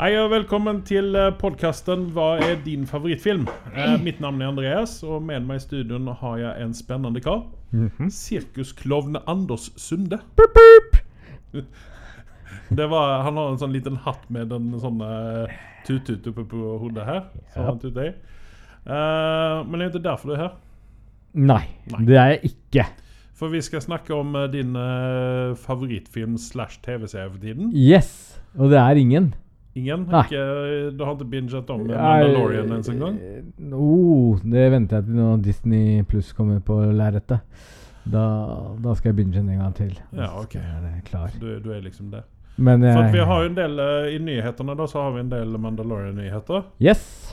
Hei og velkommen til podkasten 'Hva er din favorittfilm?' Eh, Mitt navn er Andreas, og med meg i studioen har jeg en spennende kar. Mhm. Sirkusklovn Anders Sunde. Det var, han har en sånn liten hatt med en sånn eh, tut-tut oppe på hodet her. Som Ja. han tuter i. Eh, men det er ikke derfor du er her. Nei, det er jeg ikke. For vi skal snakke om eh, din eh, favorittfilm slash TV-serie for tiden. Yes! Og det er ingen. Ingen? Nei. Ikke, du har ikke binget om Mandalorian ens en gang? Eh, Oh, det venter jeg til når Disney Pluss kommer på lerretet. Da, da skal jeg begynne en gang til. Ja, Så ok. er det klar. Du, du er liksom det. Men jeg, For at vi har jo en del eh, I nyhetene da, så har vi en del Mandalorian-nyheter. Yes!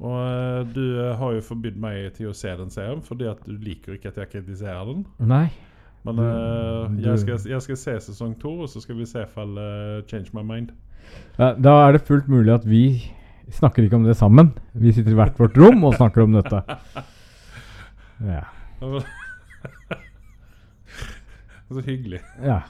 Og eh, du eh, har jo forbudt meg til å se den serien, fordi at du liker ikke at jeg kritiserer den. Nei. Men eh, Du- jeg, skal, jeg skal se sesong to, og så skal vi se om Change My Mind. Ja, Da er det fullt mulig at vi snakker ikke om det sammen. Vi sitter i hvert vårt rom og snakker om dette. Ja. så hyggelig. ja.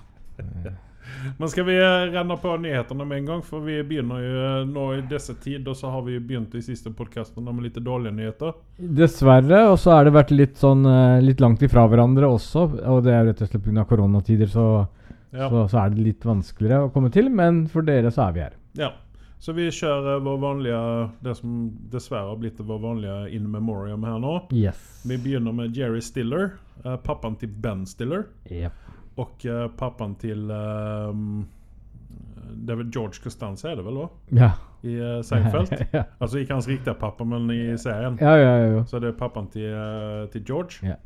Men skal vi eh, renne på nyhetene med en gang? For vi begynner jo eh, nå i disse tider, så har vi jo begynt de siste podkastene med litt dårlige nyheter. Dessverre. Og så har det vært litt sånn eh, litt langt ifra hverandre også. Og det er jo rett og slett pga. koronatider, så, Ja. så, så er det litt vanskeligere å komme til. Men for dere så er vi her. Ja. Så vi kjører vår vanlige det som dessverre har blitt vår vanlige in memoriam her nå. Yes. Vi begynner med Jerry Stiller, eh, pappaen til Ben Stiller og eh, pappaen til ehm, Det er vel George Costanza, er det vel, også? Ja. I eh, Seinfeld. ja. Altså ikke hans riktige pappa, men i serien. Ja, ja, ja, ja. Så det er pappaen til, eh, til George. Ja.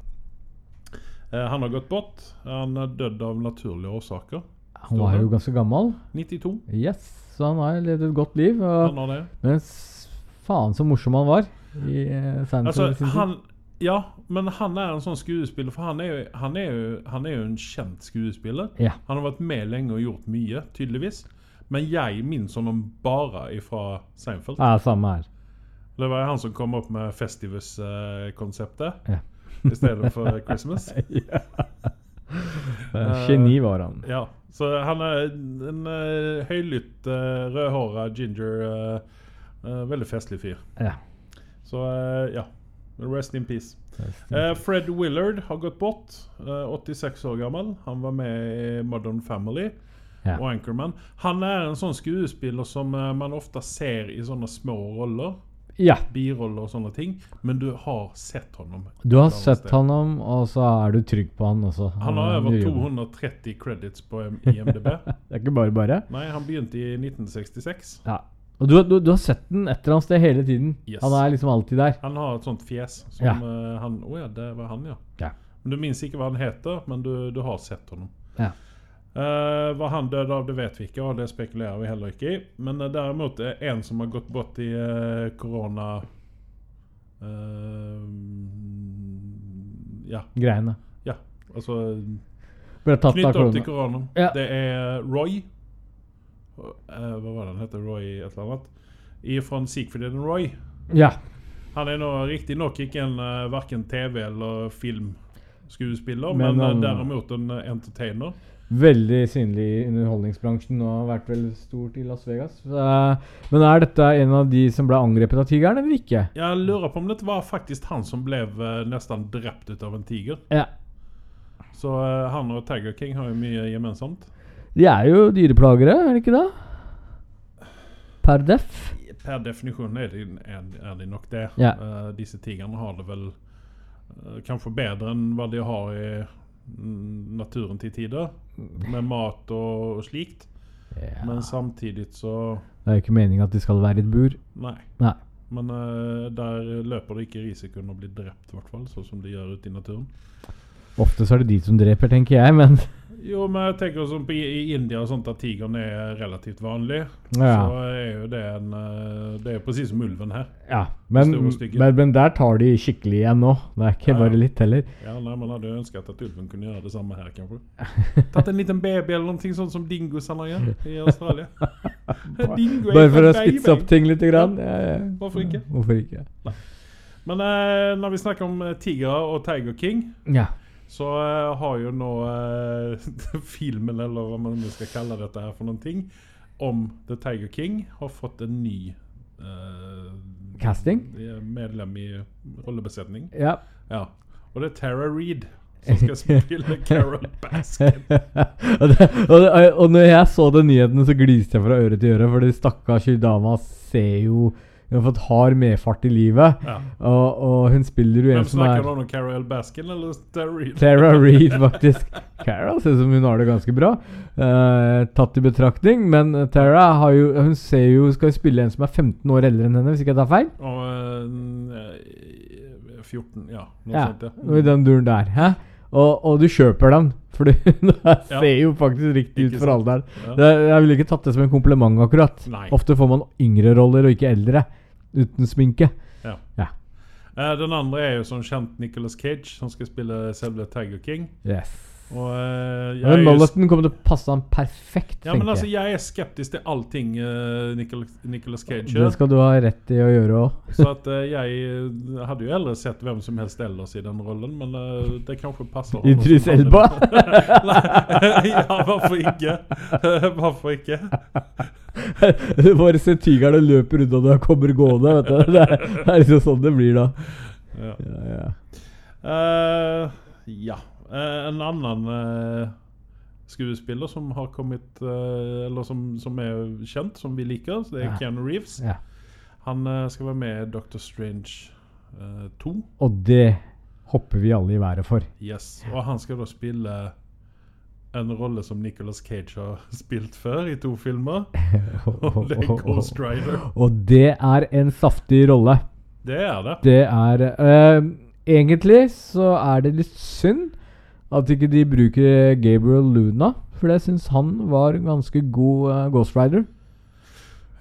Eh, han har gått bort. Han er dødd av naturlige årsaker. Han var jo ganske gammel. 92. Yes. Så han har levd et godt liv. Han Og, har det. men s- faen så morsom han var i eh, Seinfeld. i Altså, sin tid. Alltså, han Ja, men han er en sånn skuespiller, for han er jo, han er jo, han er jo en kjent skuespiller. Ja. Han har vært med lenge og gjort mye, tydeligvis. Men jeg minnes honom bare ifra Seinfeld. ja, samme her. Det var jo han som kom opp med eh, Festivus-konseptet Ja. i stedet for Christmas. Eh, Geni var han. Ja, Så han er en eh, høylytt, uh, rødhåra ginger eh, eh, Veldig festlig fyr. Ja. Så eh, ja. Rest in peace. Rest Eh, Fred Willard har gått bort. eh, 86 år gammel. Han var med i Modern Family Ja. og Anchorman. Han er en sånn skuespiller som eh, man ofte ser i sånne små roller. ja. Biroller og sånne ting. Men du har sett honom. Du har et annet sett sted. han om, og så er du trygg på han også. Han har er over mye jobb. 230 credits på M- IMDb. Det er ikke bare bare. Nei, han begynte i 1966. Ja. Og du, du, du har sett den et eller annet sted hele tiden. Yes. Han er liksom alltid der. Han har et sånt fjes som Ja. eh, han Å ja, det var han, ja. Ja. Men Du minnes ikke hva han heter, men du, du har sett honom. Ja. Eh, hva han døde av, det vet vi ikke, og det spekulerer vi heller ikke i. Men eh, derimot er en som har gått bort i eh, korona eh, Ja, Alltså, Greiene. altså Ble tatt av Knytt opp til korona. korona. Ja. Det er Roy. Eh, hva var det han heter? Roy et eller annet? Fra Siegfried and Roy. Ja. Han er nå riktignok ikke en uh, verken TV- eller filmskuespiller, Men men, eh, han- derimot en eh, entertainer. Veldig synlig i underholdningsbransjen og har vært veldig stort i Las Vegas. Så, eh, Men er dette en av de som ble angrepet av tigeren, eller ikke? Jeg lurer på om det var faktisk han som ble eh, nesten drept ut av en tiger. Ja. Så eh, han og Tiger King har jo mye gemensamt. De er jo dyreplagere, er det ikke det? Per def. Per definisjon er de, er, er de nok det. Ja. Eh, disse tigrene har det vel eh, kanskje bedre enn hva de har i mm, naturen til tider, med mat og, og slikt. Ja. Men samtidig så Det er jo ikke meninga at de skal være i et bur. Nei. Nei. Men eh, der løper det ikke risikoen å bli drept, i hvert fall, sånn som de gjør ute i naturen. Ofte så er det de som dreper, tenker jeg, men Jo, men jeg tenker sånn på i, i India og sånt at tigeren er relativt vanlig. Så ja. er jo det en eh, Det er jo presis som ulven her. ja. Men, Store stykker. men, men der tar de skikkelig igjen nå. Det er ikke Ja. bare litt heller. Ja, nei, Man hadde jo ønsket at ulven kunne gjøre det samme her, kanskje. Tatt en liten baby eller noe sånt som dingosene gjør i Australia. Dingo er Bare jo for å en spitse baby. opp ting litt. Grann. Ja, ja. Hvorfor ikke? Hvorfor ikke? Men eh, når vi snakker om eh, tigre og Tiger King, Ja. Så eh, har jo nå eh, filmen, eller hva man nå skal kalle dette her for noen ting, om The Tiger King har fått en ny eh, Casting? Medlem i rollebesetning. Ja. Ja. Og det er Tara Reed som skal spille Carol Baskin. og, det, og, det- og når jeg så den nyheten, så gliste jeg fra øre til øre, for den stakkars dama ser jo Hun har fått hard medfart i livet, Ja. og, og hun spiller jo en Hvem som er snakker du om? Carol Baskin eller Tara Reed? Tara Reed, faktisk. Carol ser ut som hun har det ganske bra, eh, tatt i betraktning. Men eh, Tara har jo, hun ser jo, skal jo spille en som er 15 år eldre enn henne, hvis ikke jeg tar feil. Og eh, 14, ja. Mm. Noe Ja, sånt, og i den duren der. Hæ? Og, og du kjøper den, for hun Ja. ser jo faktisk riktig Ikke ut for sant? alderen. Ja. Det er- Jeg ville ikke tatt det som en kompliment, akkurat. Nei. Ofte får man yngre roller og ikke eldre uten sminke. Ja. Ja. Eh, den andre er jo som kjent Nicholas Cage, som skal spille selve Tiger King. Yes. Og eh, jeg Men er jo Molleten kommer til å passe han perfekt, Ja, men tenker altså, jeg. jeg er skeptisk til allting uh, Nicolas, Nicolas Cage Det gjør. skal du ha rett i å gjøre òg. Så at eh, jeg eh, hadde jo heller sett hvem som helst ellers i den rollen, men eh, det kanskje passer honom Idris som han- Elba. Nei, ja, hvorfor ikke? hvorfor ikke? Du bare ser tigeren og løper unna når han kommer gående. Vet du. Det er, det er liksom sånn det blir da. Ja. Ja, ja. Eh, ja. Eh, en annen eh, skuespiller som har kommet eh, Eller som, som er kjent, som vi liker, så det er Ja. Keanu Reeves. Ja. Han eh, skal være med i Doctor Strange eh, 2. Og det hopper vi alle i været for. Yes. Og han skal da spille en rolle som Nicolas Cage har spilt før i to filmer. Og det er Ghost Rider. Og det er en saftig rolle. Det er det. Det er eh, Egentlig så er det litt synd at ikke de bruker Gabriel Luna, for jeg syns han var ganske god eh, Ghost Rider.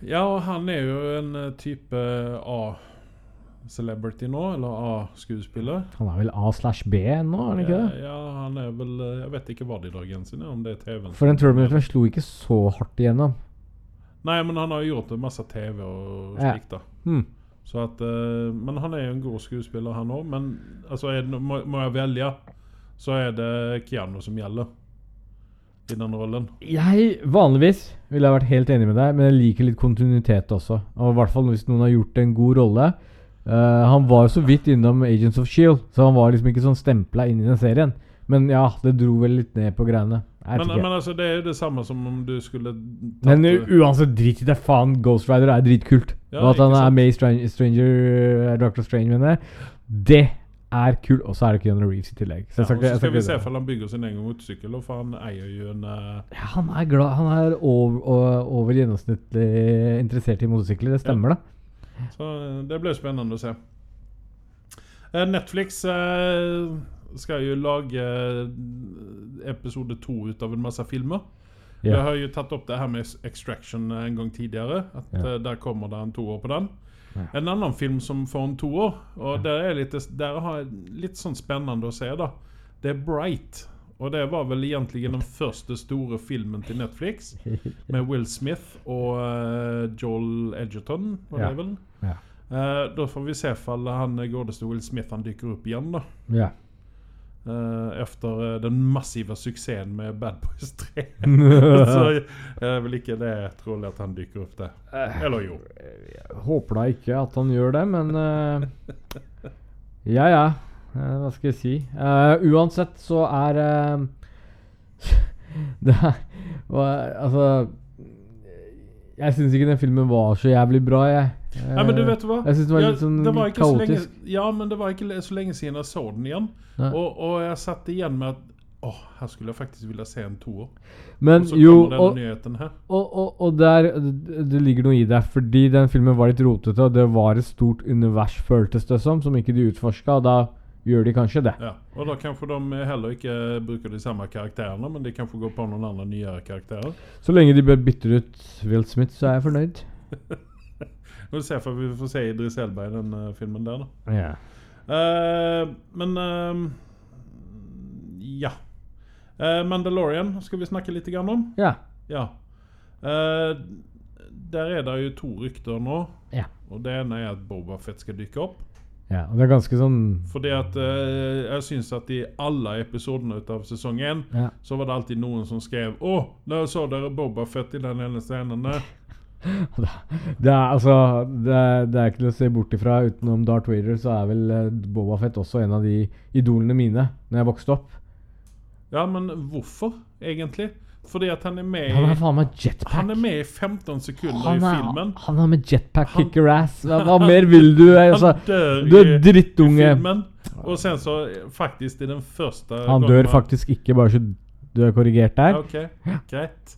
Ja, og han er jo en eh, type A-celebrity nå, eller A-skuespiller. Han er vel A slash B nå, er han ikke det? Ja, Eh, ja, han er vel eh, Jeg vet ikke hva de drar grensen er, om det er TV-en. For den Terminatoren slo ikke så hardt igjennom. Nei, men han har jo gjort en masse TV og Ja. slikt, da. Hmm. Så at, eh, men han er jo en god skuespiller, han òg. Men altså, er det, no- må, må jeg velge, så er det Keanu som gjelder i den rollen. Jeg vanligvis ville jeg vært helt enig med deg, men jeg liker litt kontinuitet også. Og i hvert fall hvis noen har gjort en god rolle. Eh, han var jo så vidt innom Agents of Shield, så han var liksom ikke sånn stempla inn i den serien. Men ja, det dro vel litt ned på greiene. Jeg Men, vet ikke. men altså, det er jo det samme som om du skulle Men u- uansett, drit i det. Faen, Ghost Rider er dritkult. Ja, og at ikke han er sant? med i Stranger, Stranger eh, Doctor Strange, mener jeg. Det er kult. Og så er det Keanu Reeves i tillegg. ja, jeg skal og ikke- Så jeg skal vi se ikke- om han bygger sin egen motorsykkel, og for han eier jo en eh, Ja, Han er, glad, han er over, og- over gjennomsnittlig interessert i motorsykler. Det stemmer, da. Så eh, det blir spennende å se. Eh, Netflix eh, skal jo lage eh, episode to ut av en masse filmer. Ja. Vi har jo tatt opp det her med Extraction eh, en gang tidligere. At Ja. eh, Der kommer det en toer på den. Ja. En annen film som får en toer, og der er litt, der har jeg litt sånn spennende å se, da. Det er Bright. Og det var vel egentlig den første store filmen til Netflix. Med Will Smith og eh, Joel Edgerton, var det Ja. vel? Ja. Eh, da får vi se om han eh, godeste Will Smith han dykker opp igjen, da. Ja. Eh, efter eh, den massive suksessen med Bad Boys 3. Så jeg er vel ikke det trolig at han dykker opp der. Eh. Eller jo. Håper da ikke at han gjør det, men eh, Ja, ja. Eh, hva skal jeg si? Eh, uansett så er eh, Det er hva- Altså Jeg syns ikke den filmen var så jævlig bra, jeg. Eh, Nei, men du vet hva? Jeg synes det var Ja, litt sånn det var ikke så lenge, kaotisk. ja, men det var ikke le- så lenge siden jeg så den igjen. Nei. Og, og jeg satt igjen med at Åh, her skulle jeg faktisk ville se en toer. Eh, men Og så jo, kommer denne og, nyheten her. og, og, og der det- Det ligger noe i det, fordi den filmen var litt rotete, og det var et stort univers, føltes det som, som ikke de utforska, og da gjør de kanskje det. Ja. Og da kanskje de heller ikke bruker de samme karakterene, men de kanskje går på noen andre nyere karakterer. Så lenge de bare bytter ut Will Smith, så er jeg fornøyd. Vi får se for vi får se Idris Elba i den eh, filmen der, da. Ja. Eh, men ehm, Ja. Eh, Mandalorian skal vi snakke litt grann om. Ja. Ja. Eh, der er det jo to rykter nå. Ja. Og det ene er at Boba Fett skal dukke opp. Ja, og det er ganske sånn Fordi at eh, jeg syns at i alle episodene ut av sesong én, Ja. så var det alltid noen som skrev 'Å, der så dere Boba Fett i den ene scenen der'. Det er, altså, det, er, det er ikke til å se bort ifra. Utenom Darth Vader så er vel eh, Boba Fett også en av de idolene mine Når jeg vokste opp. Ja, men hvorfor, egentlig? Fordi at han er med Han er i, faen meg jetpack. han er med i 15 sekunder i Han er, filmen. han er med jetpack, Han- kicker ass. Hva, hva mer vil du? Jeg, Altså, Han dør du i- er i drittunge. filmen. Og sen så eh, faktisk i den første Han gangen- dør faktisk ikke, bare så du er korrigert der. Ok, greit.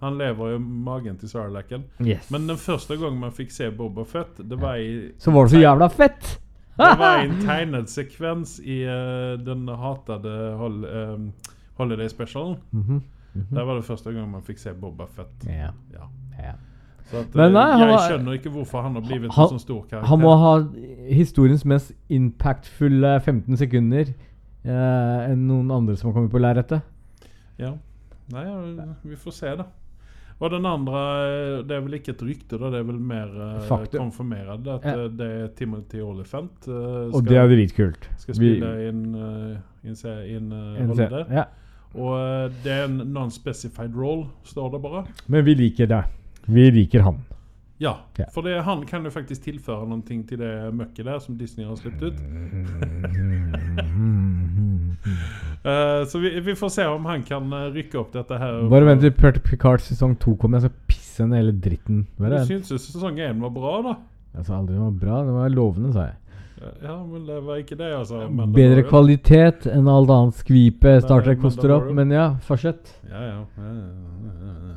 Han lever jo i magen til Sarlacen. Yes. Men den første gangen man fikk se Boba Fett, det var i Så var det så jævla fett! Det var en tegnet sekvens i eh, den hatede hol, eh, Holiday Specialen. Mhm, Der var det første gang man fikk se Boba Fett. ja, Ja. ja. Så at, Men eh, nei, han jeg var- skjønner ikke hvorfor han har blitt Han- en sånn stor karakter. Han må ha historiens mest impactfulle 15 sekunder eh, enn noen andre som har kommet på lerretet. ja. Nei, ja, vi får se, da. Og den andre eh, Det er vel ikke et rykte, da. Det er vel mer eh, Faktum. konfirmerende at Ja. eh, det er Timothy eh, Olifant Og det er dritkult. skal Vi- spille inn eh, i en se- i en, eh, en se- rolle. Ja. Og eh, det er en non-specified role, står det bare. Men vi liker deg. Vi liker han. Ja, Ja. for det, han kan jo faktisk tilføre noen ting til det møkket der som Disney har sluppet ut. Mm. Eh, så vi, vi får se om han kan eh, rykke opp dette her. Bare vent til Pert Picard sesong 2 kommer, jeg skal pisse ned hele dritten. Hva Du er det? syntes jo sesong én var bra, da. Jeg sa aldri det var bra. Det var lovende, sa jeg. Ja, men det var ikke det jeg sa. men det Bedre var jo- kvalitet enn alt annet skvipet Star Mandalorian. Trek koster opp, men ja, fortsett. Ja, ja. ja, ja, ja, ja.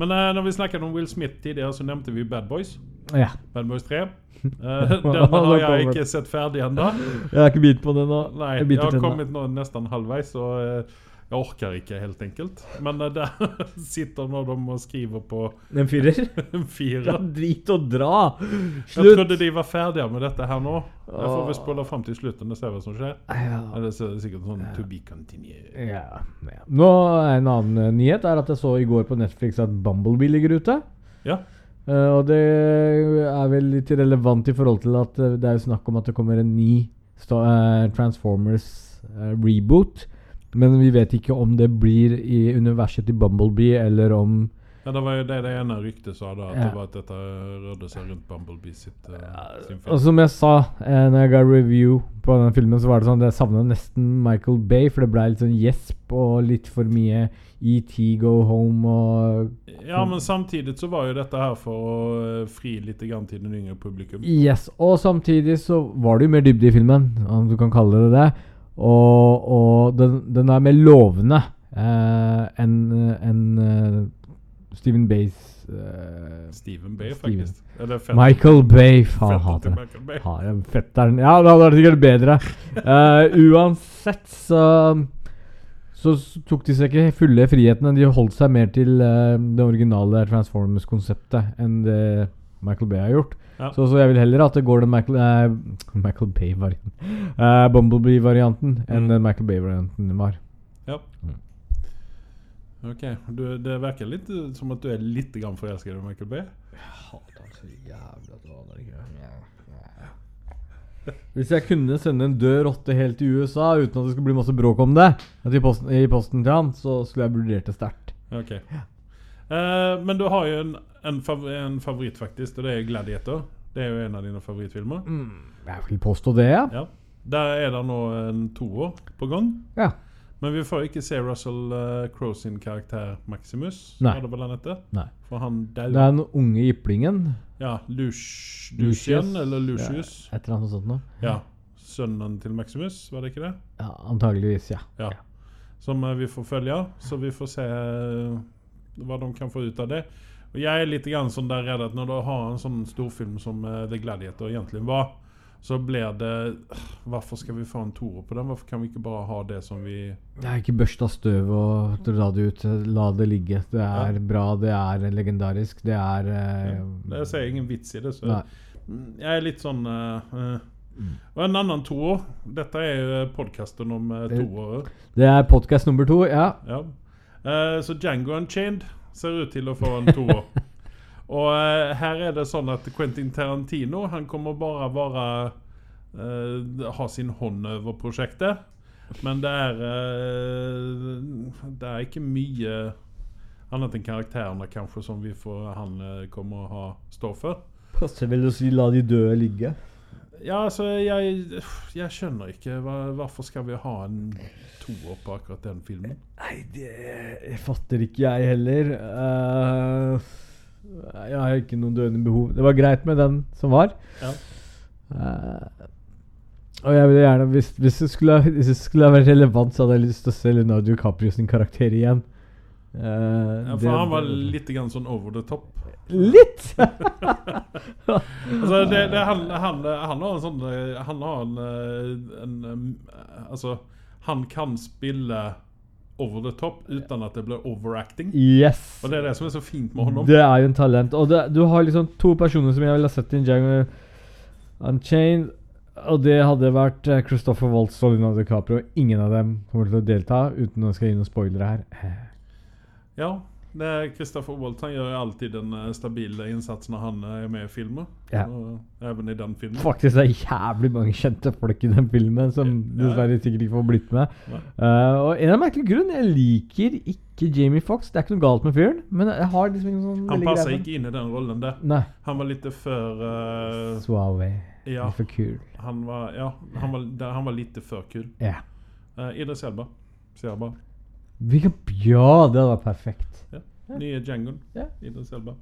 Men eh, når vi snakket om Will Smith tidligere, så nevnte vi Bad Boys. Ja. Bad Boys 3. Eh, den har Da jeg kommer ikke sett ferdig ennå. Jeg har ikke bit på det nå. Nei, jeg jeg biter har tennene. kommet nå nesten halvveis, og eh, jeg orker ikke, helt enkelt. Men eh, der sitter nå de og skriver på En firer? en Ja, firer. drit og dra! Jeg Slutt! trodde de var ferdige med dette her nå. Jeg får vel spole fram til slutten og se hva som skjer. Ja. Eh. Eller så er det sikkert sånn to be continued. Ja, ja. Nå er En annen eh, nyhet er at jeg så i går på Netflix at Bumblebee ligger ute. Ja. Eh, og det er vel litt relevant i forhold til at eh, det er jo snakk om at det kommer en ny sta eh, Transformers eh, reboot. Men vi vet ikke om det blir i universet til Bumblebee, eller om ja, det var jo det det ene ryktet sa, da. At Ja. det var at dette rørte seg rundt Bumblebee sitt eh, sin Og film. som jeg sa eh, Når jeg ga review på den filmen, så var det sånn at jeg savna nesten Michael Bay, for det ble litt sånn gjesp og litt for mye ET, Go Home og Ja, men samtidig så var jo dette her for å eh, fri litt grann til den yngre publikum. Yes, og samtidig så var det jo mer dybde i filmen, om du kan kalle det det. Og, og den, den er mer lovende eh, enn enn, eh, Stephen Bays eh, Steven Bay, Steven. faktisk. Eller fett- Michael Bay, faen fetteren hater til det. Michael Bay. Har en fetteren Ja, det hadde vært sikkert bedre. Eh, uansett så så s- tok de seg ikke fulle frihetene. De holdt seg mer til eh, det originale Transformers-konseptet enn det Michael Bay har gjort. Ja. Så, så jeg vil heller at det går den Michael, eh, Michael Bay-varianten eh, Bumblebee-varianten enn Mm. den Michael Bay-varianten var. Ja. Mm. Ok, du, det verkar litt som at du er litt grann forelsket i Michael Bay. Hvis jeg kunne sende en død rotte helt til USA uten at det skulle bli masse bråk om det, at i posten, i posten til han, så skulle jeg vurdert det sterkt. Ok. Eh, men du har jo en, en, fav en favoritt, faktisk, og det er Gladiator. Det er jo en av dine favorittfilmer. Mm. Jeg vil påstå det, ja. Ja. Der er det nå en toer på gang. ja. Men vi får ikke se Russell eh, Crowe sin karakter Maximus. Nei. var det vel han hette? Nei. For han Det daua. er den unge yplingen. Ja, Lush, Lucien, eller Lucius. Ja, et eller annet sånt noe. Ja. Sønnen til Maximus, var det ikke det? Ja, antageligvis, ja. Ja. Som eh, vi får följa. Så vi får se eh, vad de kan få ut av det. Och jag är lite grann som där rädd att när du har en sån stor film som eh, The Gladiator egentligen var. Så blir det "Ugh, Varför ska vi få en tour på den? Varför kan vi inte bara ha det som vi... Det er ikke børsta støv og dra det ut. La det ligge. Det er bra, det er legendarisk, det er eh, Jag ser ingen vits i det. Så Nei. Mm, Jag är lite sån... eh, eh. Och en annan tour. Detta är ju eh, podcasten om uh, Det- tourer. Det er podkast nummer to, ja. Ja. Eh, så Django Unchained ser ut til å få en toer. Og eh, her er det sånn at Quentin Tarantino han kommer bare være eh, ha sin hånd over prosjektet. Men det er eh, Det er ikke mye annet enn karakterene, kanskje, som vi får, han eh, kommer å ha stå for. Passer vel å si la de døde ligge. Ja, alltså, altså, jeg, jeg skjønner ikke hva, Hvorfor skal vi ha en toer på akkurat den filmen? Nei, det jeg fatter ikke jeg heller. Eh, jeg har ikke noen døende behov. Det var greit med den som var. Ja. Eh, og jeg ville gjerne hvis, hvis, det skulle, ha- hvis det skulle ha vært relevant, så hadde jeg lyst til å se Leonardo DiCaprio sin karakter igjen. Eh, Ja, det- for han var litt grann sånn over the top. Litt! Altså, Alltså, det, det, han, han, han har en sånn eh, Han har en, eh, en eh, Altså, han kan spille over the top uten at det blir overacting. yes. Og det er det som er så fint med honom. Det er jo en talent. Og det, du har liksom to personer som jeg ville ha sett i en Django Unchained. Og det hadde vært eh, Christopher Waltz og Leonardo DiCaprio. Ingen av dem kommer til å delta uten å skal gi noen spoilere her. Ja, det er Christopher Waltz han gjør jo alltid en eh, stabil innsats når han eh, er med i filmer. Ja. Og, even i den filmen. Faktisk er det jævlig mange kjente folk i den filmen som Ja. dessverre sikkert ikke får blitt med. Eh, og en av merkelig grunn, jeg liker ikke Jamie Foxx. Det er ikke noe galt med fyren, men jeg har liksom ikke noen sånn Han veldig passer greie på ikke inn i den rollen der. den. Nei. Han var litt før eh, Suave. Ja, For kul. han var, ja, han var, der, han var litt før kul. Ja. Uh, Idris Elba. Ser jeg bare. Hvilken Ja, det var perfekt. Nye Djangoen. Ja. Idris Elba.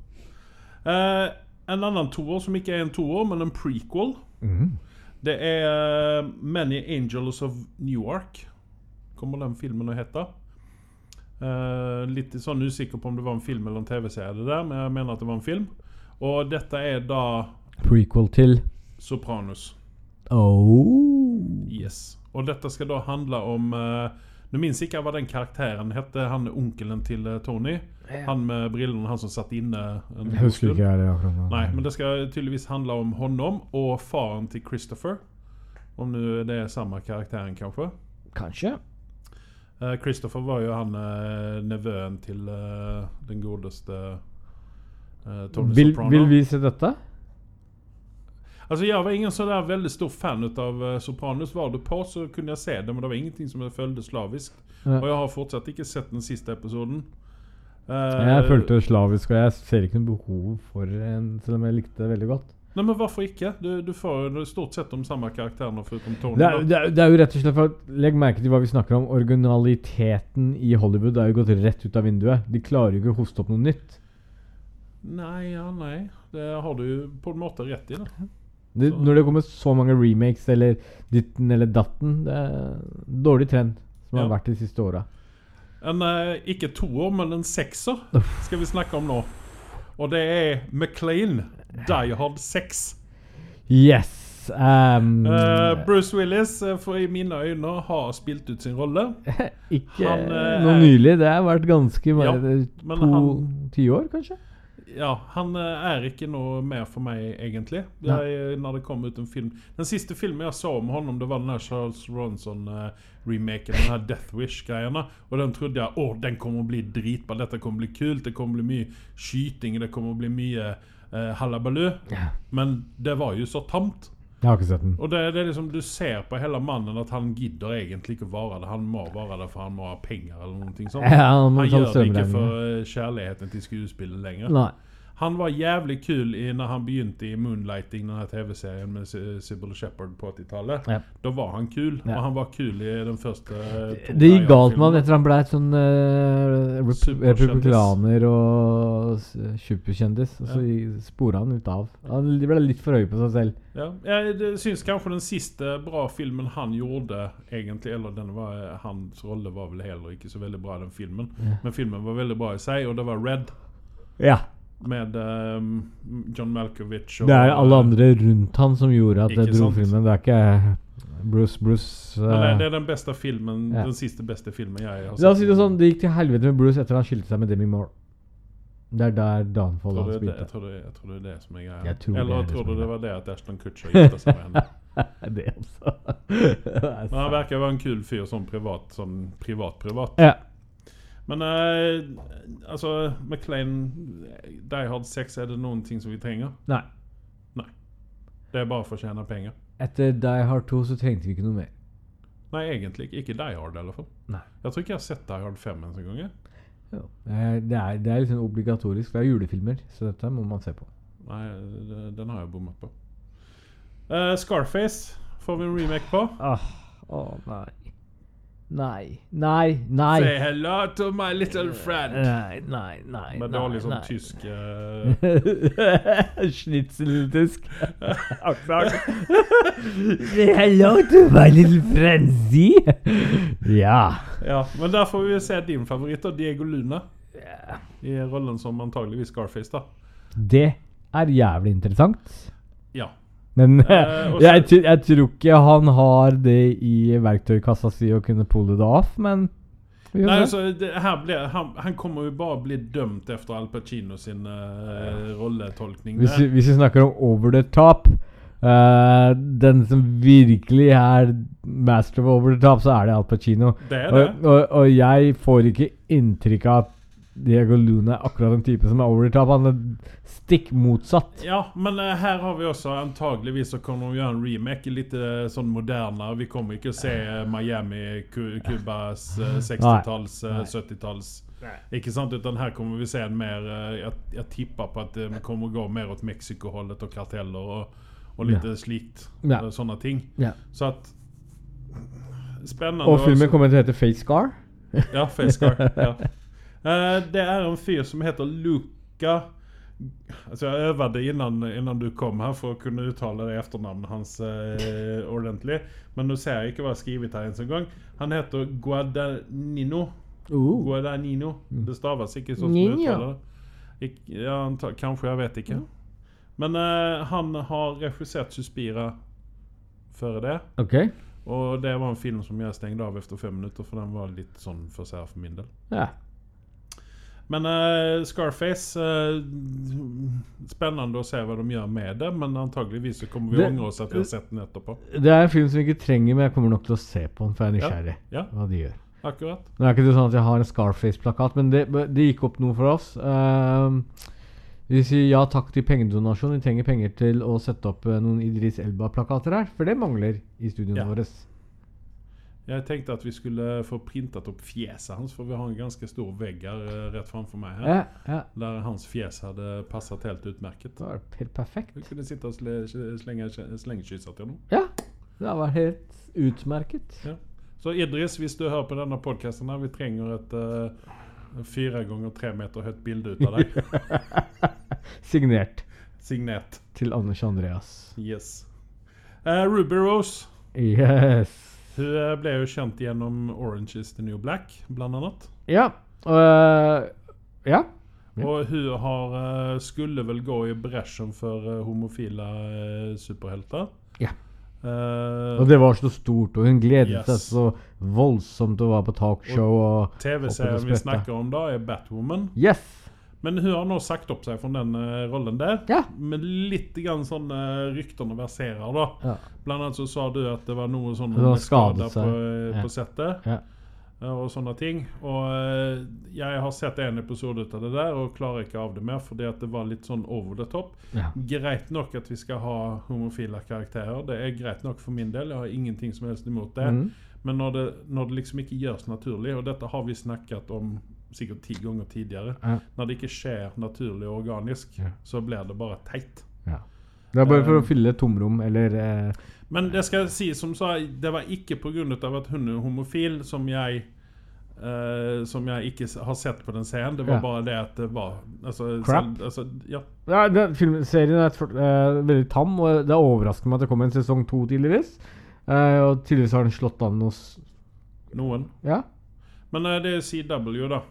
Eh, en annen toer som ikke er en toer, men en prequel, Mm. det er eh, Many Angels of Newark. Kommer den filmen å hete. Eh, litt sånn usikker på om det var en film eller en TV-serie, det der, men jeg mener at det var en film. Og dette er da Prequel til Sopranos. Oh. Yes. Og dette skal da handle om eh, Nå minnes ikke jeg hva den karakteren hette, han er onkelen til eh, Tony. Han med brillene, han som satt inne. en Jeg husker stund. ikke jeg det akkurat nå. Nei, men det skal tydeligvis handle om honom og faren til Christopher. Om nu det er samme karakteren, kanskje. Kanskje. Eh, Christopher var jo han eh, nevøen til eh, den godeste eh, Tony Vil, Soprano. vil vi se dette? Altså Jeg var ingen sånn der veldig stor fan av eh, Sopranos. Var det på, så kunne jeg se det, men det var ingenting som jeg følte slavisk. Ja. Og jeg har fortsatt ikke sett den siste episoden. Eh, Jeg følte det slavisk, og jeg ser ikke noe behov for en, selv om jeg likte det veldig godt. Nei, men hvorfor ikke? Du, du får jo stort sett de samme karakterene foruten Tony. Det er, da. det, er, det er jo rett og slett for at- Legg merke til hva vi snakker om. Originaliteten i Hollywood er jo gått rett ut av vinduet. De klarer jo ikke å hoste opp noe nytt. Nei, ja, nei. Det har du jo på en måte rett i. da. Det, Så- når det kommer så mange remakes eller ditten eller datten Det er en dårlig trend som har Ja. vært de siste åra. En eh, ikke toer, men en sekser skal vi snakke om nå. Og det er Maclean, Die Hard 6. Yes! Um, Eh, Bruce Willis, eh, for i mine øyne, har spilt ut sin rolle. Ikke Han, eh, noe er- nylig. Det har vært ganske Ja, bare men to han- tiår, kanskje? Ja, Han eh, er ikke noe mer for meg, egentlig. Nei. Jeg, eh, når det kom ut en film Den siste filmen jeg så om ham, det var den her Charles Ronson-remaken. den her Death Wish-greiene. Og den trodde jeg å, den kommer å bli dritbra. Dette kommer å bli kult. Det kommer å bli mye skyting. Det kommer å bli mye eh, hallabaloo. Men det var jo så tamt. Jeg har ikke sett den. Og det, det er liksom, Du ser på hele mannen at han gidder egentlig ikke å være det. Han må være det for han må ha penger eller noe sånt. Ja, han han må ta gjør det ikke strømregningen. for eh, kjærligheten til skuespillet lenger. Nei. Han var jævlig kul i, når han begynte i Moonlighting, den her TV-serien med Sy- Sybil Shepherd på 80-tallet. Ja. Da var han kul, Ja. og han var kul i den første eh, Tom Det gikk galt Dian-filmen. med han etter han ble et sånn eh, rep Superkjendis. republikaner og s- superkjendis. Og så spora han ut av. Han ble litt for høy på seg selv. Ja. Jeg det syns kanskje den siste bra filmen han gjorde, egentlig Eller den var, hans rolle var vel heller ikke så veldig bra, i den filmen. Men filmen var veldig bra i seg, og det var Red. Ja. Med ehm, John Malkovich og Det er alle andre rundt han som gjorde at det Ikke dro sant? filmen. Det er ikke Bruce Bruce eh, Eller, det er den beste filmen Ja. Den siste beste filmen jeg har sett. La oss si det sånn, det gikk til helvete med Bruce etter han skilte seg med Demi Moore. Det er der Jeg downfallet tror, det, hans er det- begynte. jeg, tror det, jeg tror det er det som er greia. Jeg tror det Eller er jeg det trodde som er det var det at Ashton Kutcher gifta seg med henne. Det Alltså. altså. Det er Men han sant. verkar være en kul fyr sånn privat, sånn privat-privat. Ja. Men eh, altså, Maclean Die Hard 6, er det noen ting som vi trenger? Nei. Det er bare for å tjene penger. Etter Die Hard 2 så trengte vi ikke noe mer. Nei, egentlig ikke. Ikke Die Hard, i alle fall. Nei. Jeg tror ikke jeg har sett Die Hard 5 en gang. jeg. Eh, Det er, det er liksom obligatorisk. Det er julefilmer, så dette må man se på. Nei, det- den har jeg bommet på. Eh, Scarface får vi en remake på. Ah, å nei. Nei, nei, nei. Say hello to my little friend. Nei, nei, nei. Med dårlig sånn nei. tysk eh, Schnitzeltysk. Say hello to my little frenzy. ja. Ja, Men der får vi se din favoritt, da, Diego Luna. Ja. I rollen som antageligvis Scarface, da. Det er jævlig interessant. Ja. Men Eh, og så- jeg, tr- jeg tror ikke han har det i verktøykassa si å kunne pulle det off, men vi får Nei, se. altså, det, her ble, han, han kommer jo bare bli dømt etter Al Pacino sin eh, rolletolkning. Hvis, vi- der. hvis vi snakker om over the top eh, Den som virkelig er master of over the top, så er det Al Pacino. Det er det. Og, og, og jeg får ikke inntrykk av at Diego Luna er akkurat den typen som er over the top. Han er stikk motsatt. Ja, men eh, her har vi også antageligvis så kommer de gjøre en remake litt eh, sånn moderne. Vi kommer ikke å se eh, Miami, Cu- Cubas eh, 60-talls, eh, 70-talls Ikke sant? Utan her kommer vi se en mer eh, jeg, jeg tipper på at det kommer å gå mer åt Mexico-holdet og karteller og, og litt Ja. eh, slikt. Ja. eh, Sånne ting. Ja. Så at Spennende. Og filmen også. kommer til å hete Face Scar. Ja, Face Scar. Ja. Eh, det er en fyr som heter Luca Alltså jag övade innan, innan du kom här för att kunna uttala det efternamn hans eh, ordentligt. Men nu ser jag inte vad jag har skrivit här ens en gång. Han heter Guadagnino. Oh. Uh. Guadagnino. Det stavas inte så som du Nino. uttalar det. Ik- Jag antar, kanske, jag vet inte. Men eh, han har regisserat Suspira före det. Ok. Och det var en film som jag stängde av efter fem minuter för den var lite sån för sär för min del. Ja. Men eh, Scarface eh, Spennende å se hva de gjør med det, men antageligvis så kommer vi Det- å angre oss at vi har sett den etterpå. Det er en film som jeg ikke trenger, men jeg kommer nok til å se på den, for jeg er Ja. nysgjerrig Ja, hva de gjør. akkurat. Nå er ikke det sånn at jeg har en Scarface-plakat, men det, det gikk opp noe for oss. Ehm, vi sier ja takk til pengedonasjon. Vi trenger penger til å sette opp eh, noen Idris Elba-plakater her, for det mangler i studioene Ja. våre. Jeg tenkte at vi skulle få printet opp fjeset hans, for vi har en ganske stor vegg her eh, rett framfor meg her. Ja, ja. Der hans fjes hadde passet helt utmerket. Det var helt perfekt. Vi kunne sitte og sle- slenge slengekysse til noen. Ja, det var helt utmerket. Så Idris, hvis du hører på denne podkasten, vi trenger et eh, fire ganger tre meter høyt bilde ut av deg. Signert Signert. til Anders Andreas. Yes. Eh, Ruby Rose. Yes. Hun eh, ble jo kjent gjennom Orange is the New Black, blant annet. Ja. øh, ja. Ja. Og hun har, eh, skulle vel gå i bresjen for eh, homofile eh, superhelter. Ja. Eh, Og det var så stort, og hun gledet Yes. seg så voldsomt til å være på talkshow og TV-serien Håper vi det spretter. snakker om da, er Batwoman. Yes! Men hun har nå sagt opp seg fra den eh, rollen der. Ja. Med litt grann sånn eh, ryktene verserer, da. Ja. Blant annet så sa du at det var noe sånn Det var med skader skadet seg. på, Ja. på settet. Ja. eh, Og sånne ting. Og eh, jeg har sett en episode ut av det der og klarer ikke av det mer fordi at det var litt sånn over the top. Ja. Greit nok at vi skal ha homofile karakterer. Det er greit nok for min del. Jeg har ingenting som helst imot det. Mm. Men når det, når det liksom ikke gjøres naturlig, og dette har vi snakket om sikkert ti ganger tidligere Ja. Når det ikke skjer naturlig og organisk, Ja. så blir det bare teit. Det er bare for Eh, å fylle et tomrom, eller eh, Men det skal si som sa, det var ikke pga. at hun er homofil som jeg eh, som jeg ikke s- har sett på den scenen. Det var Ja. bare det at det var altså, Crap. selv- altså, ja, ja, den filmen- Serien er et for- eh, veldig tam, og det overrasker meg at det kom en sesong to, tydeligvis. Eh, og tydeligvis har den slått an hos noen. Ja. Men eh, det er CW, da.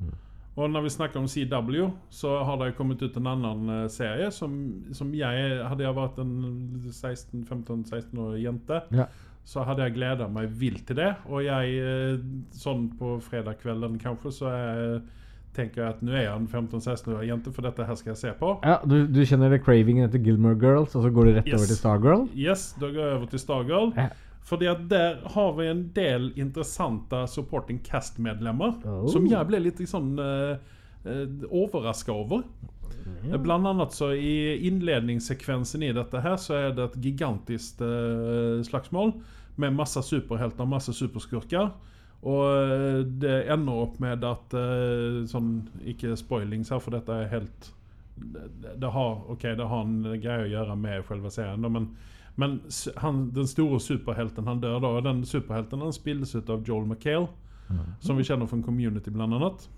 Mm. Og når vi snakker om CW, så har det kommet ut en annen eh, serie som, som jeg Hadde jeg vært en 16-15-16 år jente, Ja. så hadde jeg gleda meg vilt til det. Og jeg, eh, sånn på fredagskvelden kanskje, så eh, tenker jeg at nå er jeg en 15-16 år jente, for dette her skal jeg se på. ja du, du kjenner det cravingen etter Gilmore Girls, og så går det rett Yes. over til Stargirl? Yes, da går jeg over til Stargirl. Ja. Fordi at der har vi en del interessante supporting cast-medlemmer Oh. eh, som jeg ble litt sånn uh, overraska over. Bland annat så i inledningssekvensen i detta här så är det ett gigantiskt eh, slagsmål med massa superhjältar, massa superskurkar. Och eh, det ender opp med at eh, Sånn, ikke spoilings her, for dette er helt det, det har ok, det har en greie å gjøre med selve serien, da, men, men s- han, den store superhelten han dør da. Og den superhelten han spilles ut av Joel McHale, Mm-hmm. som vi kjenner fra Community blant annet.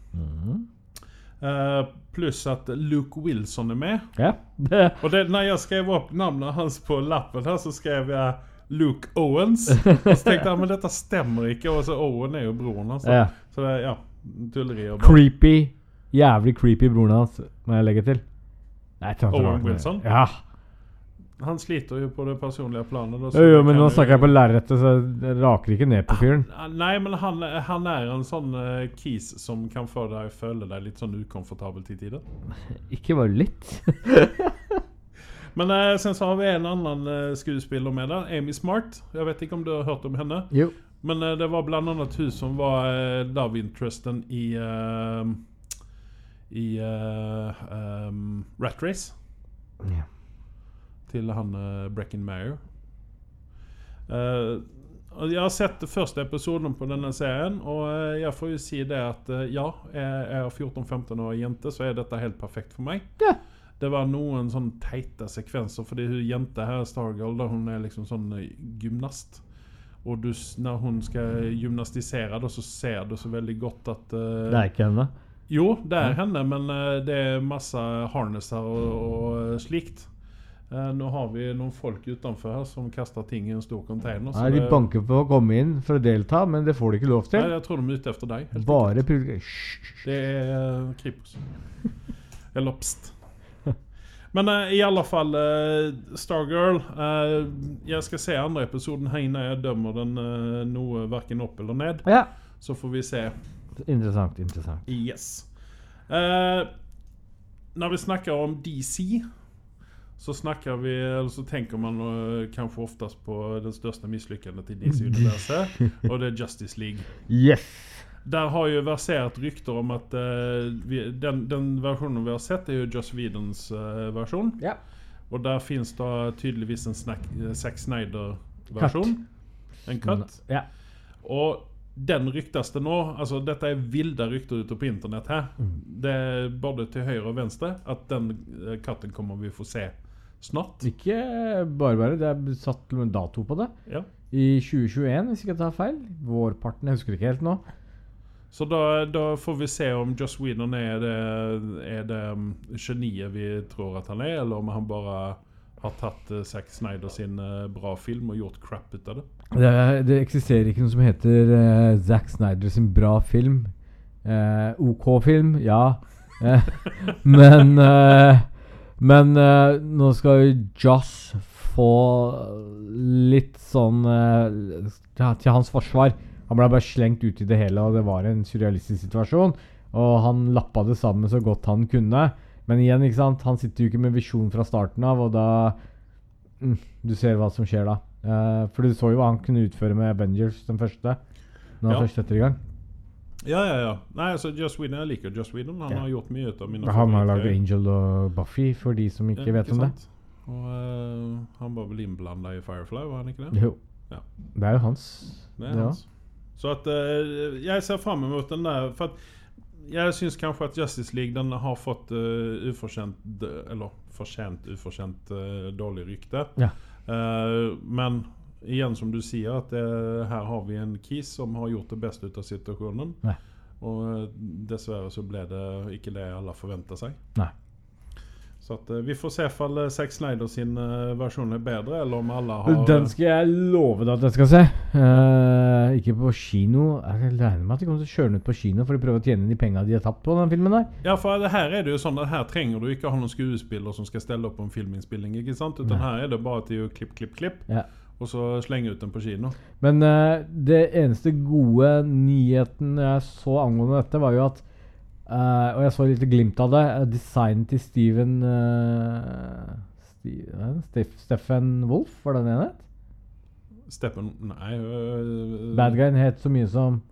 Eh, Pluss at Luke Wilson er med. Ja, det Og det, når jeg skrev opp navnet hans på lappen her, så skrev jeg Luke Owens. Og så tenkte jeg men dette stemmer ikke. Og så Owen er jo broren hans. da. Ja. alltså. Så det, ja, tulleri og bare Creepy. Jævlig creepy broren hans, må jeg legge til. Nei, jeg tror han tar Owen vare på det. Wilson? Ja. Han sliter jo på det personlige planet. da, så Jo, jo, det men kan Ah, nå jo- snakker jeg på lerretet, så jeg raker ikke ned på fyren. Nei, men han, han er en sånn eh, kis som kan få deg å føle deg litt sånn ukomfortabel til tider. Ikke bare litt. Men eh, sen så har vi en annen eh, skuespiller med der, Amy Smart. Jeg vet ikke om du har hørt om henne. Jo. Men eh, det var bland annat hun som var eh, love interesten i eh, I eh, ehm, Rat Race. Ja. Til han uh, Brecken Meyer. Eh, og jeg har sett første episoden på denne serien, og eh, jeg får jo si det at eh, ja, jeg er 14-15 år jente, så er dette helt perfekt for meg. Ja. Det var noen sånn teite sekvenser, fordi hun jenta her, Stargirl, da, hun er liksom sånn eh, gymnast. Og du, s- når hun skal gymnastisere, da, så ser du så veldig godt at eh, Det er ikke henne. Jo, det er henne, men eh, det er masse harnesser og, og slikt. Eh, nå har vi noen folk utenfor her som kaster ting i en stor container. Nei, de det- banker på å komme inn for å delta, men det får de ikke Nei, lov til. jeg tror de er ute etter deg. helt Bare publikum Hysj. Det er eh, Kripos. Eller Pst. Men eh, i alle fall, eh, Stargirl eh, Jeg skal se andre episoden her innan jeg dømmer den eh, noe verken opp eller ned. Ja. Så får vi se. Interessant, interessant. Yes. Eh, når vi snakker om DC, så snakker vi Eller så tenker man eh, kanskje oftest på den største mislykkandet i DC-universet, og det er Justice League. Yes. Der har ju verserat rykter om att eh, vi, den, den versionen vi har sett är ju Joss Whedons eh, version. Ja. Och där finns det tydligtvis en snack, eh, Zack Snyder version. En cut. Ja. Och den ryktas det nå, alltså detta är vilda rykter ute på internet här. Mm. Det är både till höger och vänster att den eh, cutten kommer vi få se snart. Ikke bare bare, det er satt til og med dato på det. Ja. I 2021, hvis ikke jeg tar feil. Vårparten, jeg husker ikke helt nå. Så da, da får vi se om Joss Whedon er det, er det mm, geniet vi tror at han er, eller om han bare har tatt eh, Zack Snyder sin eh, bra film og gjort crap ut av det. Det, det eksisterer ikke noe som heter eh, Zack Snyder sin bra film. Eh, OK film, ja. Eh, men eh, men eh, nå skal jo Joss få litt sånn eh, ja, Til hans forsvar. Han ble bare slengt ut i det hele, og det var en surrealistisk situasjon. Og han lappa det sammen så godt han kunne. Men igjen, ikke sant? han sitter jo ikke med visjon fra starten av, og da mm, Du ser hva som skjer da. Eh, for du så jo hva han kunne utføre med Avengers, den første. Når han Ja. først setter i gang. Ja, ja, ja. Nei, altså, Joss Whedon, Jeg liker Joss Whedon. Han Ja. har gjort mye ut av mine Han har favoritter. lagd Angel og Buffy, for de som ikke Ja, vet om det. sant? Og eh, han var vel innblanda i Firefly, var han ikke det? Jo. Ja. Det er jo hans. Det det er da. hans. Så at eh, jeg ser fram mot den der. For at jeg syns kanskje at Justice League den har fått uh, ufortjent d- Eller fortjent ufortjent eh, dårlig rykte. Ja. Eh, men igjen, som du sier, at eh, her har vi en Kis som har gjort det beste ut av situasjonen. Nei. Og eh, dessverre så ble det ikke det alle forventa seg. Nei. Så at, eh, vi får se om Zack Snyder sin eh, versjon er bedre, eller om alle har Den skal jeg love deg at jeg skal se. Eh, ikke på kino. Jeg regner med at de kommer til å kjøre den ut på kino for å prøve å tjene inn de penga de har tapt på den filmen der. Ja, for det her er det jo sånn at her trenger du ikke ha noen skuespiller som skal stelle opp på en filminnspilling. ikke sant? Utan Nei. her er det bare til å klipp, klipp, klipp, Ja. og så slenge ut den på kino. Men eh, det eneste gode nyheten jeg så angående dette, var jo at eh, Og jeg så litt glimt av det. eh, Designet til Steven eh, Sti- hva er det? Steff- Steffen Wolff, var det det han het? Steppen... Nei øh, Bad guyen het så mye som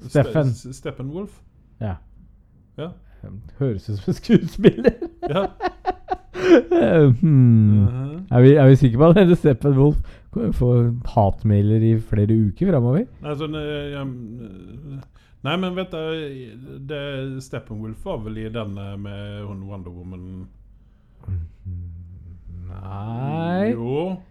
Ste- Steffen. S- Steppenwolf? Ja. Ja. Høres ut som en skuespiller. Ja. Eh, hmm. Mhm. er, vi, er vi sikre på at denne Steppen Wolf får hatmailer i flere uker framover? Alltså, nej, jag, nej men vänta. Det, Steppenwolf var väl i den eh, med hon Wonder Woman? Nei Jo.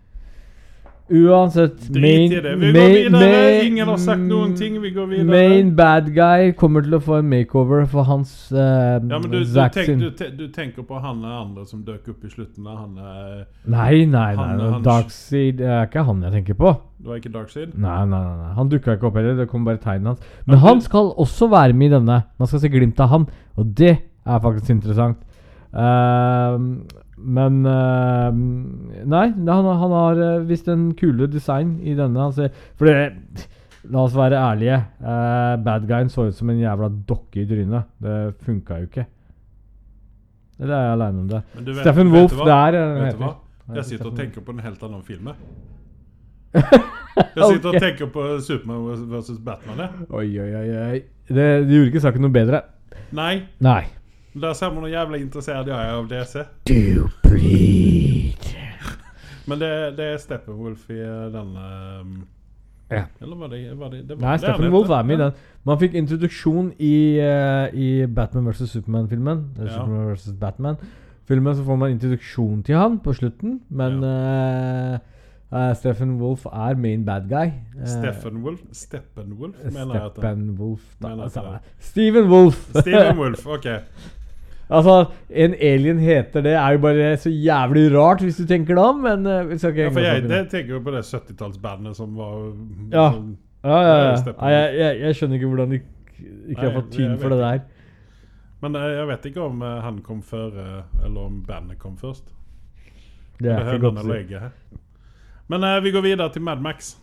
Uansett Drit i det. Vi går vidare. Ingen har sagt någonting. Vi går vidare. mm. Main bad guy kommer til å få en makeover for hans eh, ja, men du, du, Zack tänk, sin- du, tä- du tänker på han den andra som dök upp i slutet när han... eh, Nei, nei, nei. Han- nei. han- Darkseid det er ikke han jeg tenker på. Det var inte Darkseid? Nei, nei, nei, nei. Han dukka ikke opp heller. Det kom bare tegnet hans. Men han skal også være med i denne. Man skal se glimt av han, og det er faktisk interessant. Ehm, men ehm, Nei, det- han, han har eh, visst en kulere design i denne. Han ser, for det La oss være ærlige. Uh, bad guyen så ut som en jævla dokke i trynet. Det funka jo ikke. Eller er jeg aleine om det? Men du vet- Steffen vet Wolff, du vad? det er eh, Vet du heter. vad? Nej, Jag sitter och Steppenwolf. tänker på en helt annan film. här. Jag sitter och Okej. tänker på Superman vs Batman. här. Oi, oi, oi. oi. Det, det gjorde ikke saken noe bedre. Nej, Nei. där ser man hur jävla intresserad jag är av DC. Do bleed. Men det, det är Steppenwolf i eh, den... ehm, Ja. Eller var det, var det, det var Nei, det Steffen han Wolff hette. er med i den. Man fikk introduksjon i, eh, i Batman vs. Superman-filmen. Eller Ja. Superman vs. Batman. Filmen så får man introduksjon til han på slutten, men eh, eh, Steffen Wolff er main bad guy. Eh, Steffen Wolf? Steppenwolf menar jeg at det Steppen Wolf, da. Mener jeg at samme. det Steven Wolff! Steven Wolf, ok. altså, en alien heter det, er jo bare så jævlig rart hvis du tenker deg om, men eh, vi skal ikke Ja, henge for oss jeg, opp i det tenker jo på det 70-tallsbandet som var Ja. som- Ja, ja, Det er ja. Steppen Nei, jeg, jeg, jeg skjønner ikke hvordan de k- ikke har Nei, fått tyn jeg for det der. Men eh, jeg vet ikke om eh, han kom før, eh, eller om bandet kom først. Det Det er er ikke godt. hønene og egget her. Men eh, vi går videre til Mad Max.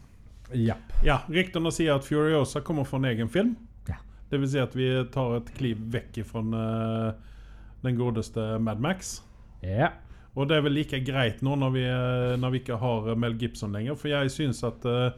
Ja. Ja, ryktene sier at Furiosa kommer fra en egen film. Ja. Det vil si at vi tar et kliv vekk fra den godeste Mad Max. ja. Og det er vel like greit nå når vi, når vi ikke har eh, Mel Gibson lenger, for jeg syns at eh,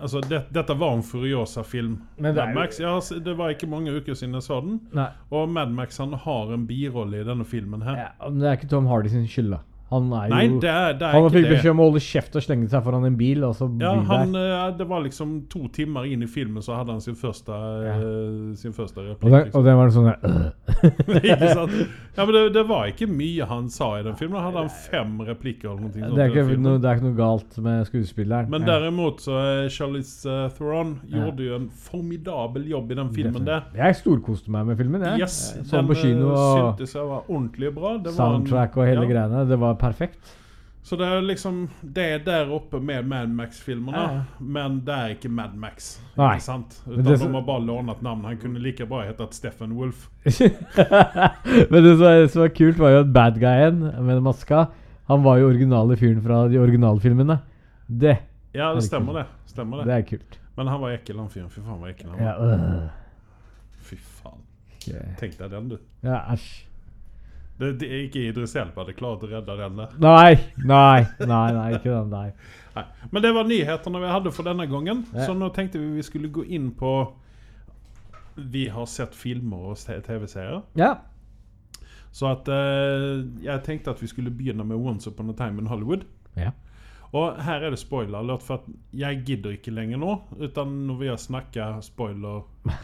Altså, det, dette var en Furiosa-film. Men det er Mad jo- Max, ja, altså, det var ikke mange uker siden jeg så den. Nei, Og Mad Max han har en birolle i denne filmen her. ja, men det er ikke Tom Hardy sin skyld, da. Han er jo Nei, det er, det er Han fikk ikke det. beskjed om å holde kjeft og slenge seg foran en bil, og så Ja, blir han, der. eh, det var liksom to timer inn i filmen så hadde han sin første, eh, sin første replikk. liksom. Og den, og den var sånn der, øh. ikke sant? Ja, men det, det var ikke mye han sa i den filmen. Hadde han fem replikker eller noe sånt? det, er i den ikke filmen. noe, det er ikke noe galt med skuespilleren. Men Ja. derimot så eh, Charlize eh, Theron Ja. gjorde jo en formidabel jobb i den filmen der. Jeg storkoste meg med filmen. Jeg. Yes, Jeg så den den på kino eh, og syntes jeg var ordentlig bra. Det var en- soundtrack og hele ja. greiene. Det var perfekt. Så det er liksom Det er der oppe med Mad Max-filmene, Ja. men det er ikke Mad Max. Nei. Ikke sant? Men Utan det som- de har bare lånet navn. Han kunne like bra hett Steffen Wolff. Men det som, var- som var kult, var jo at bad guyen med maska, han var jo originale fyren fra de originale filmene. Det, Ja, Herregud. det stemmer det. stemmer det det. er kult. Men han var ekkel, han fyren. Fy faen, var ekkel han var. Ja, øh. Fy faen. Ok. Tenk deg den, du. ja æsj. Det, det er ikke Idris Elba hadde klart å redde den der. Nei, nei, nei, nei, ikke den der. Nei. Men det var nyhetene vi hadde for denne gangen. Ja. Så nå tenkte vi vi skulle gå inn på Vi har sett filmer og se- TV-serier. Ja. Så at eh, jeg tenkte at vi skulle begynne med Once upon a time in Hollywood. Ja. Og her er det spoiler alert, for at jeg gidder ikke lenger nå. Utan nå vil jeg snakke spoiler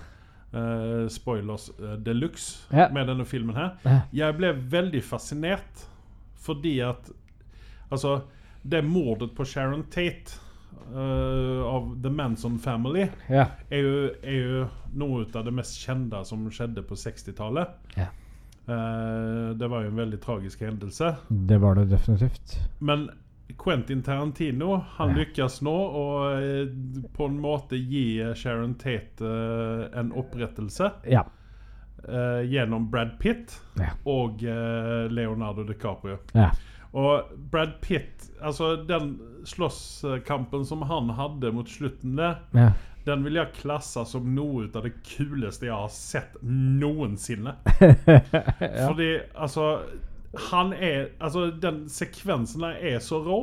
eh, Spoilers uh, de luxe Ja. med denne filmen her. Ja. Jeg ble veldig fascinert fordi at Altså, alltså, det mordet på Sharon Tate eh, av The Manson Family ja. er jo, er jo noe av det mest kjente som skjedde på 60-tallet. Ja. Eh, det var jo en veldig tragisk hendelse. Det var det definitivt. Men Quentin Tarantino han lykkes nå å eh, på en måte gi Sharon Tate eh, en opprettelse Ja. eh, gjennom Brad Pitt Ja. og eh, Leonardo DiCaprio. ja. Og Brad Pitt Altså, den slåsskampen som han hadde mot slutten der ja. den vil jeg klasse som noe av det kuleste jeg har sett noensinne. Fordi altså alltså, Han er Altså, den sekvensen der er så rå.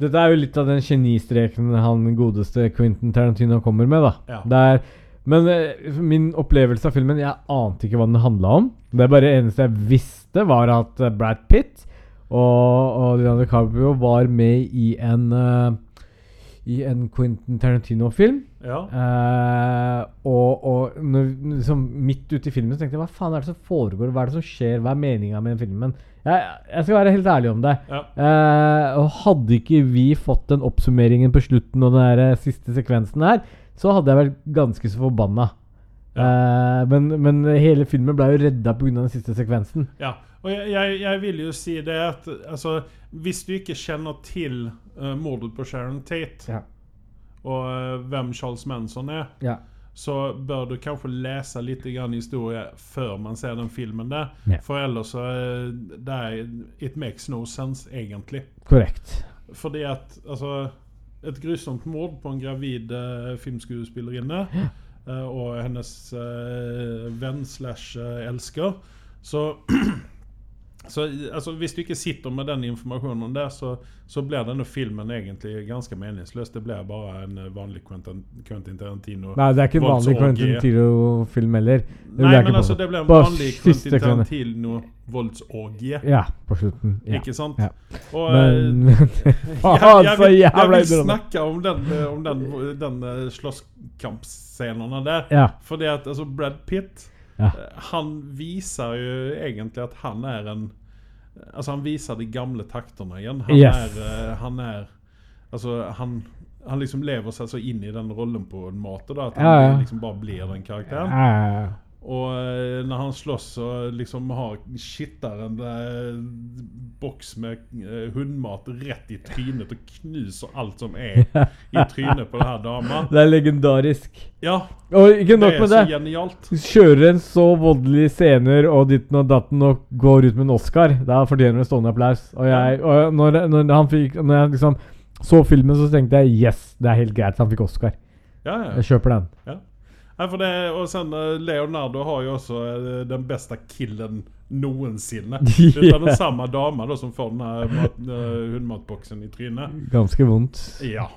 Dette er jo litt av den genistreken han godeste Quentin Tarantino kommer med, da. Ja. Det er Men eh, min opplevelse av filmen Jeg ante ikke hva den handla om. Det er bare det eneste jeg visste, var at eh, Brad Pitt og, og Leonardo DiCaprio var med i en eh, I en Quentin Tarantino-film. Ja. Eh, og og når, liksom midt ute i filmen så tenkte jeg hva faen er det som foregår? Hva er det som skjer? Hva er meninga med den filmen? Jeg, jeg skal være helt ærlig om det. Ja. Eh, og hadde ikke vi fått den oppsummeringen på slutten og den der siste sekvensen her, så hadde jeg vært ganske så forbanna. Eh, men, men hele filmen ble jo redda pga. den siste sekvensen. Ja, og jeg, jeg, jeg vil jo si det at altså, Hvis du ikke kjenner til eh, mordet på Sharon Tate Ja. og eh, hvem Charles Manson er, Ja. så bør du kanskje lese litt grann historie før man ser den filmen der. Ja. For ellers så eh, det er, It makes no sense, egentlig. Korrekt. Fordi at altså Et alltså, grusomt mord på en gravid eh, filmskuespillerinne eh, og hennes eh, venn slash eh, elsker. Så, så altså, hvis du ikke sitter med den informasjonen der, så, så blir denne filmen egentlig ganske meningsløs. Det blir bare en eh, vanlig Quentin, Quentin Tarantino. Nei, det er ikke en vanlig Voldsorgie. Quentin Tiro-film heller. Det vil Nei, jeg ikke men altså, påstå. det blir en Bare vanlig siste Quentin kvinne. Tarantino-voldsorgie. Ja, på slutten. Ja. Ikke sant? Ja. Og, eh, Men ah, Jeg, Faen, jeg, så vil, jeg jævla vil irriterende. snakke om den, eh, om den, den eh, slåsskampscenen der. Ja. Fordi at altså, alltså, Brad Pitt Ja. eh, Han viser jo egentlig at han er en Altså, han viser de gamle taktene igjen. Han Yes. er eh, Han er Altså, han han liksom lever seg så inn i den rollen på en måte da, at han Ja, ja. liksom bare blir den karakteren. Eh, Og eh, når han slåss og liksom har skitteren eh, boks med eh, hundmat rett i trynet og knuser alt som er i trynet på denne dama Det er legendarisk. Ja, Og ikke det nok er med så det. genialt. Kjører en så voldelige scener og ditten og datten og går ut med en Oscar, da fortjener du stående applaus. Og jeg, og når, når, han fikk, når jeg liksom så filmen, så tenkte jeg yes, det er helt greit, han fikk Oscar. Ja, ja. Jeg kjøper den. Nei, for det, og sen eh, Leonardo har jo også eh, den beste killen noensinne. Ja. Det er den samme dama da som får denne mat, eh, hundmatboksen i trynet. Ganske vondt. Ja.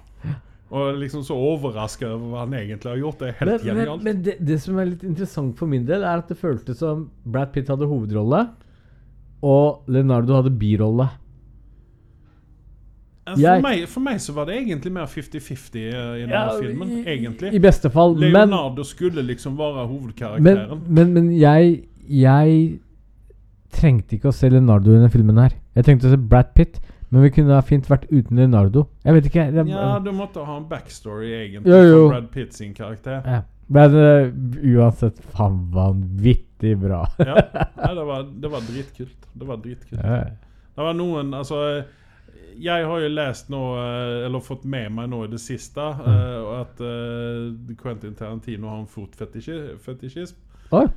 Og liksom så overraska over hva han egentlig har gjort. Det er Men, helt men, genialt. men det, det som er litt interessant for min del, er at det føltes som Brad Pitt hadde hovedrolle, og Leonardo hadde birolle. Ja, For, Jeg- meg, for meg så var det egentlig mer 50-50 i denne filmen. egentlig. I beste fall. Men Leonardo skulle liksom være Men, hovedkarakteren. men, men jeg Jeg trengte ikke å se Leonardo i denne filmen her. Jeg trengte å se Brad Pitt, men vi kunne ha fint vært uten Leonardo. Jeg vet ikke det, ja, du måtte ha en backstory, egentlig, Jo, for jo. Brad Pitt sin karakter. ja. Men eh, uansett, faen vanvittig bra. Ja. Nei, det var, det var dritkult. Det var dritkult. Ja. Det var noen Altså jeg eh, har jo lest nå, eh, eller fått med meg nå i det siste, Mm. eh, at eh, Quentin Tarantino har en fotfetisjism. Oi.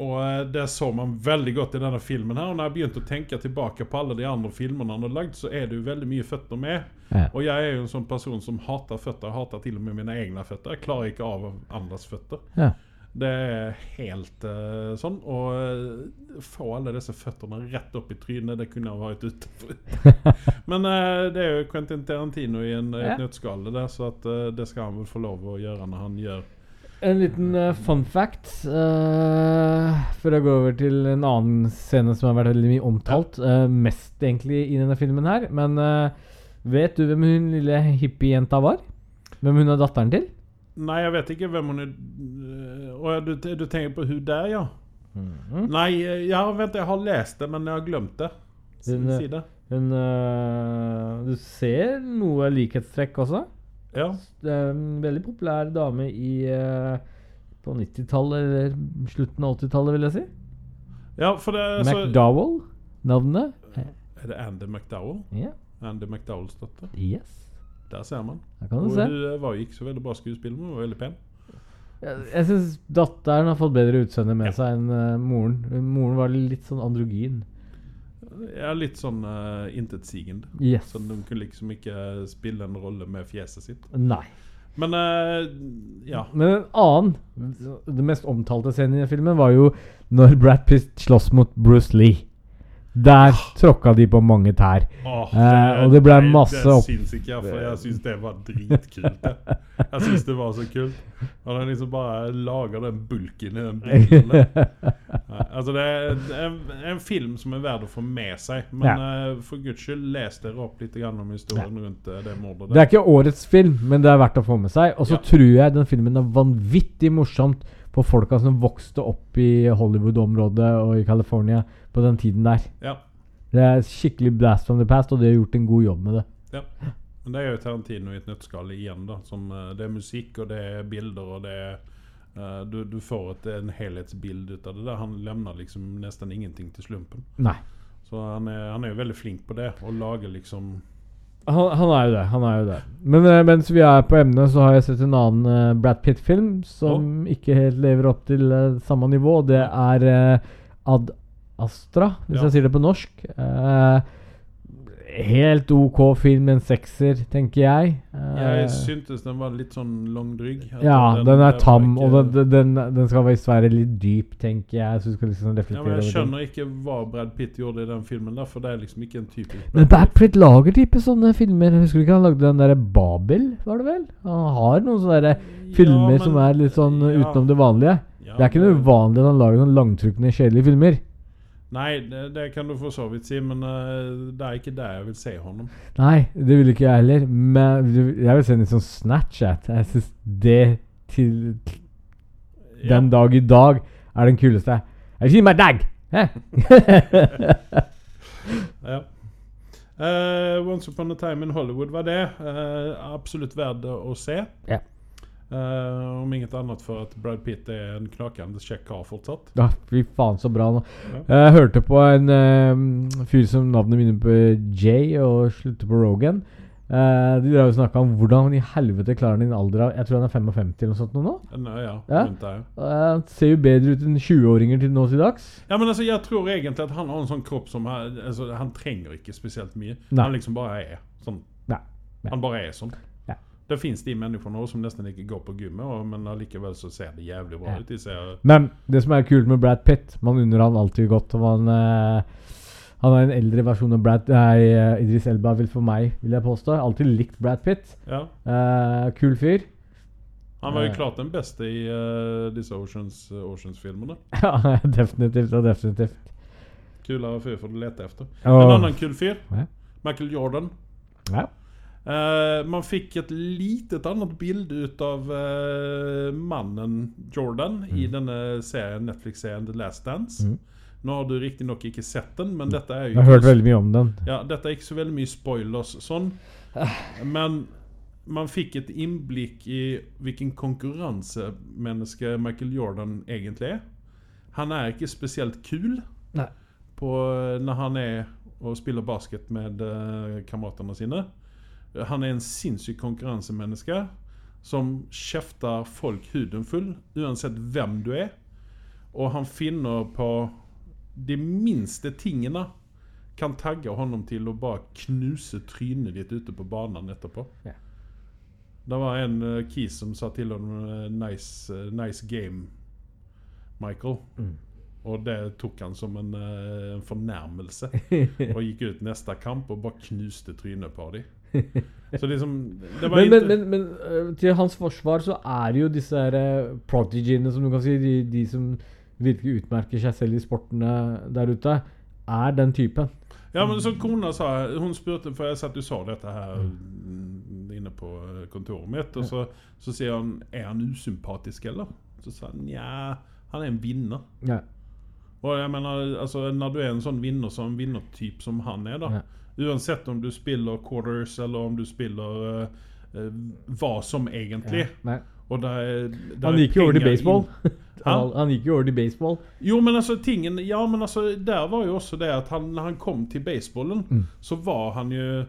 Og eh, det så man veldig godt i denne filmen her. Og når jeg begynte å tenke tilbake på alle de andre filmene han har lagd, så er det jo veldig mye føtter med. Ja. Og jeg er jo en sånn person som hater føtter. Jeg hater til og med mine egne føtter. Jeg klarer ikke av andres føtter. Ja. Det er helt eh, sånn. Og eh, få alle disse føttene rett opp i trynet, det kunne jeg vært utenfor. Men eh, det er jo Quentin Tarantino i en, eh, et Ja. nøttskall, det der, så at, eh, det skal han vel få lov å gjøre når han gjør En liten eh, fun fact eh, før jeg går over til en annen scene som har vært veldig mye omtalt. eh, mest egentlig i denne filmen her. Men eh, vet du hvem hun lille hippiejenta var? Hvem hun er datteren til? Nei, jeg vet ikke hvem hun er Å, ja, Eh, du, du tenker på hun der, ja? Nei, ja, vent, jeg har lest det, men jeg har glemt det. Si Hun, eh, si det. Hun øh, Du ser noe likhetstrekk også. Ja. Det er en veldig populær dame i øh, på 90-tallet eller slutten av 80-tallet, vil jeg si. ja, for det er så- McDowell. Navnet? Er det Andy McDowell? Ja. Andy McDowells datter. Yes. Der ser man. Der kan Og du se. hun eh, var jo ikke så veldig bra skuespiller, men hun var veldig pen. Jeg, jeg syns datteren har fått bedre utseende med Ja. seg enn øh, moren. Moren var litt sånn androgyn. Ja, litt sånn uh, intetsigende. Yes. Sånn, de kunne liksom ikke spille en rolle med fjeset sitt. Nei. Men eh, ja. Men en annen Den mest omtalte scenen i filmen var jo når Brad Pitt slåss mot Bruce Lee. Der Ah. tråkka de på mange tær. Åh, Eh, og det ble nei, masse Det opp- syns ikke jeg, for jeg syns det var dritkult. det. Jeg syns det var så kult. Og den liksom bare lager den bulken i den bilen. der. Nei, Altså, det er det er en film som er verdt å få med seg. Men eh, for guds skyld, les dere opp litt grann om historien rundt eh, det mordet. Det er ikke årets film, men det er verdt å få med seg. Og så Ja. tror jeg den filmen er vanvittig morsomt for folka som vokste opp i Hollywood-området og i California på den tiden der. Ja. Det er skikkelig blast from the past, og de har gjort en god jobb med det. Men det er jo Tarantino i et nøtteskall igjen, da. Som, eh, det er musikk, og det er bilder, og det er eh, du, du får et, en helhetsbild ut av det. der Han levner liksom nesten ingenting til slumpen. Nei. Så han er, han er jo veldig flink på det, å lage liksom Han, han er jo det. han er jo det Men eh, mens vi er på emnet, så har jeg sett en annen eh, Brad Pitt-film som ikke helt lever opp til eh, samme nivå. og Det er eh, Ad Astra, hvis Ja. jeg sier det på norsk. Eh, helt OK film, en sekser, tenker jeg. Eh, Jeg syntes den var litt sånn langdrygg. At ja, den er var tam, ikke- og den, den, den skal visst være litt dyp, tenker jeg. Så du skal liksom ja, reflektere men Jeg over den. skjønner ikke hva Brad Pitt gjorde i den filmen, der, for det er liksom ikke en typisk Men Brad Pitt lager type sånne filmer. Husker du ikke han lagde den derre Babel, var det vel? Han har noen sånne derre filmer som er litt sånn uh, utenom det vanlige. Det er ikke noe uvanlig at han lager sånn langtrykkende, kjedelige filmer. Nei, det, det kan du for så vidt si, men eh, det er ikke der jeg vil se honom. Nei, det vil ikke jeg heller. Men du- jeg vil se en litt sånn Snapchat. Jeg syns det til Ja. den dag i dag er den kuleste. Jeg sier meg dag! Hæ? Ja. Eh, Once upon a time in Hollywood var det. Eh, absolutt verd å se. Ja. Eh, om inget annet for at Brad Pitt er en knakende kjekk kar fortsatt. Ja, fy faen, så bra nå. Jeg hørte på en eh, fyr som navnet begynner på J og slutter på Rogan. Eh, de drev og snakka om hvordan i helvete klarer han i en alder av Jeg tror han er 55 eller noe sånt nå. nå. Nå, ja, Ja. rundt der, ja. Eh, Han ser jo bedre ut enn 20-åringer til nå til dags. Ja, men altså, Jeg tror egentlig at han har en sånn kropp som er- altså, Han trenger ikke spesielt mye. Nei. Han liksom bare er sånn. Nei. Nei. Han bare er sånn. Ja. Det fins de menneskene også som nesten ikke går på gymmet, og- men allikevel så ser det jævlig bra Ja. ut. De ser Men det som er kult med Brad Pitt, man unner han alltid godt. Og man, eh, han er en eldre versjon av Brad, nei, eh, Idris Elba vil for meg, vil jeg påstå. Alltid likt Brad Pitt. Ja. Eh, kul fyr. Han var jo Ja. klart den beste i eh, disse Oceans- Oceans-filmene. Ja, definitivt og definitivt. Kulere fyr får du lete efter. En Og, annen kul fyr, Ja. Michael Jordan. ja. Eh, man fikk et litet annet bilde ut av eh, mannen Jordan i denne serien, Netflix-serien The Last Dance. Mm. Nå har du riktignok ikke sett den, men dette er Jeg jo har hørt veldig mye om den. ja, dette er ikke så veldig mye spoilers sånn. Men man fikk et innblikk i hvilken konkurransemenneske Michael Jordan egentlig er. Han er ikke spesielt kul Nei. på, når han er og spiller basket med eh, kameratene sine. Han er en sinnssyk konkurransemenneske som kjefter folk huden full, uansett hvem du er. Og han finner på de minste tingene kan tagge honom til å bare knuse trynet ditt ute på banen etterpå. Ja. Det var en uh, kis som sa til ham eh, nice, eh, 'nice game, Michael'. Mm. Og det tok han som en, eh, en fornærmelse. Og gikk ut neste kamp og bare knuste trynet på dem. Så liksom det var Men, inte- men, men, men øh, til hans forsvar så er det jo disse her øh, prodigyene, som du kan si, de, de som virkelig utmerker seg selv i sportene der ute, er den typen. Ja, Mm. men som kona sa, hun spurte, for jeg satt og sa dette her mm, inne på eh, kontoret mitt, og så, så sier han, er han usympatisk, eller? Så sa han, ja, han er en vinner. Ja. Og jeg mener, altså, når alltså, du er en sånn vinner, så er en vinnertyp som han er da, Ja. uansett om du spiller quarters, eller om du spiller eh, eh, hva som egentlig, Nei. og det er, det Han er gikk jo over til penger baseball. inn- Han, han gikk jo over til baseball. Jo, men altså tingen Ja, men altså Der var jo også det at han, når han kom til baseballen, så var han jo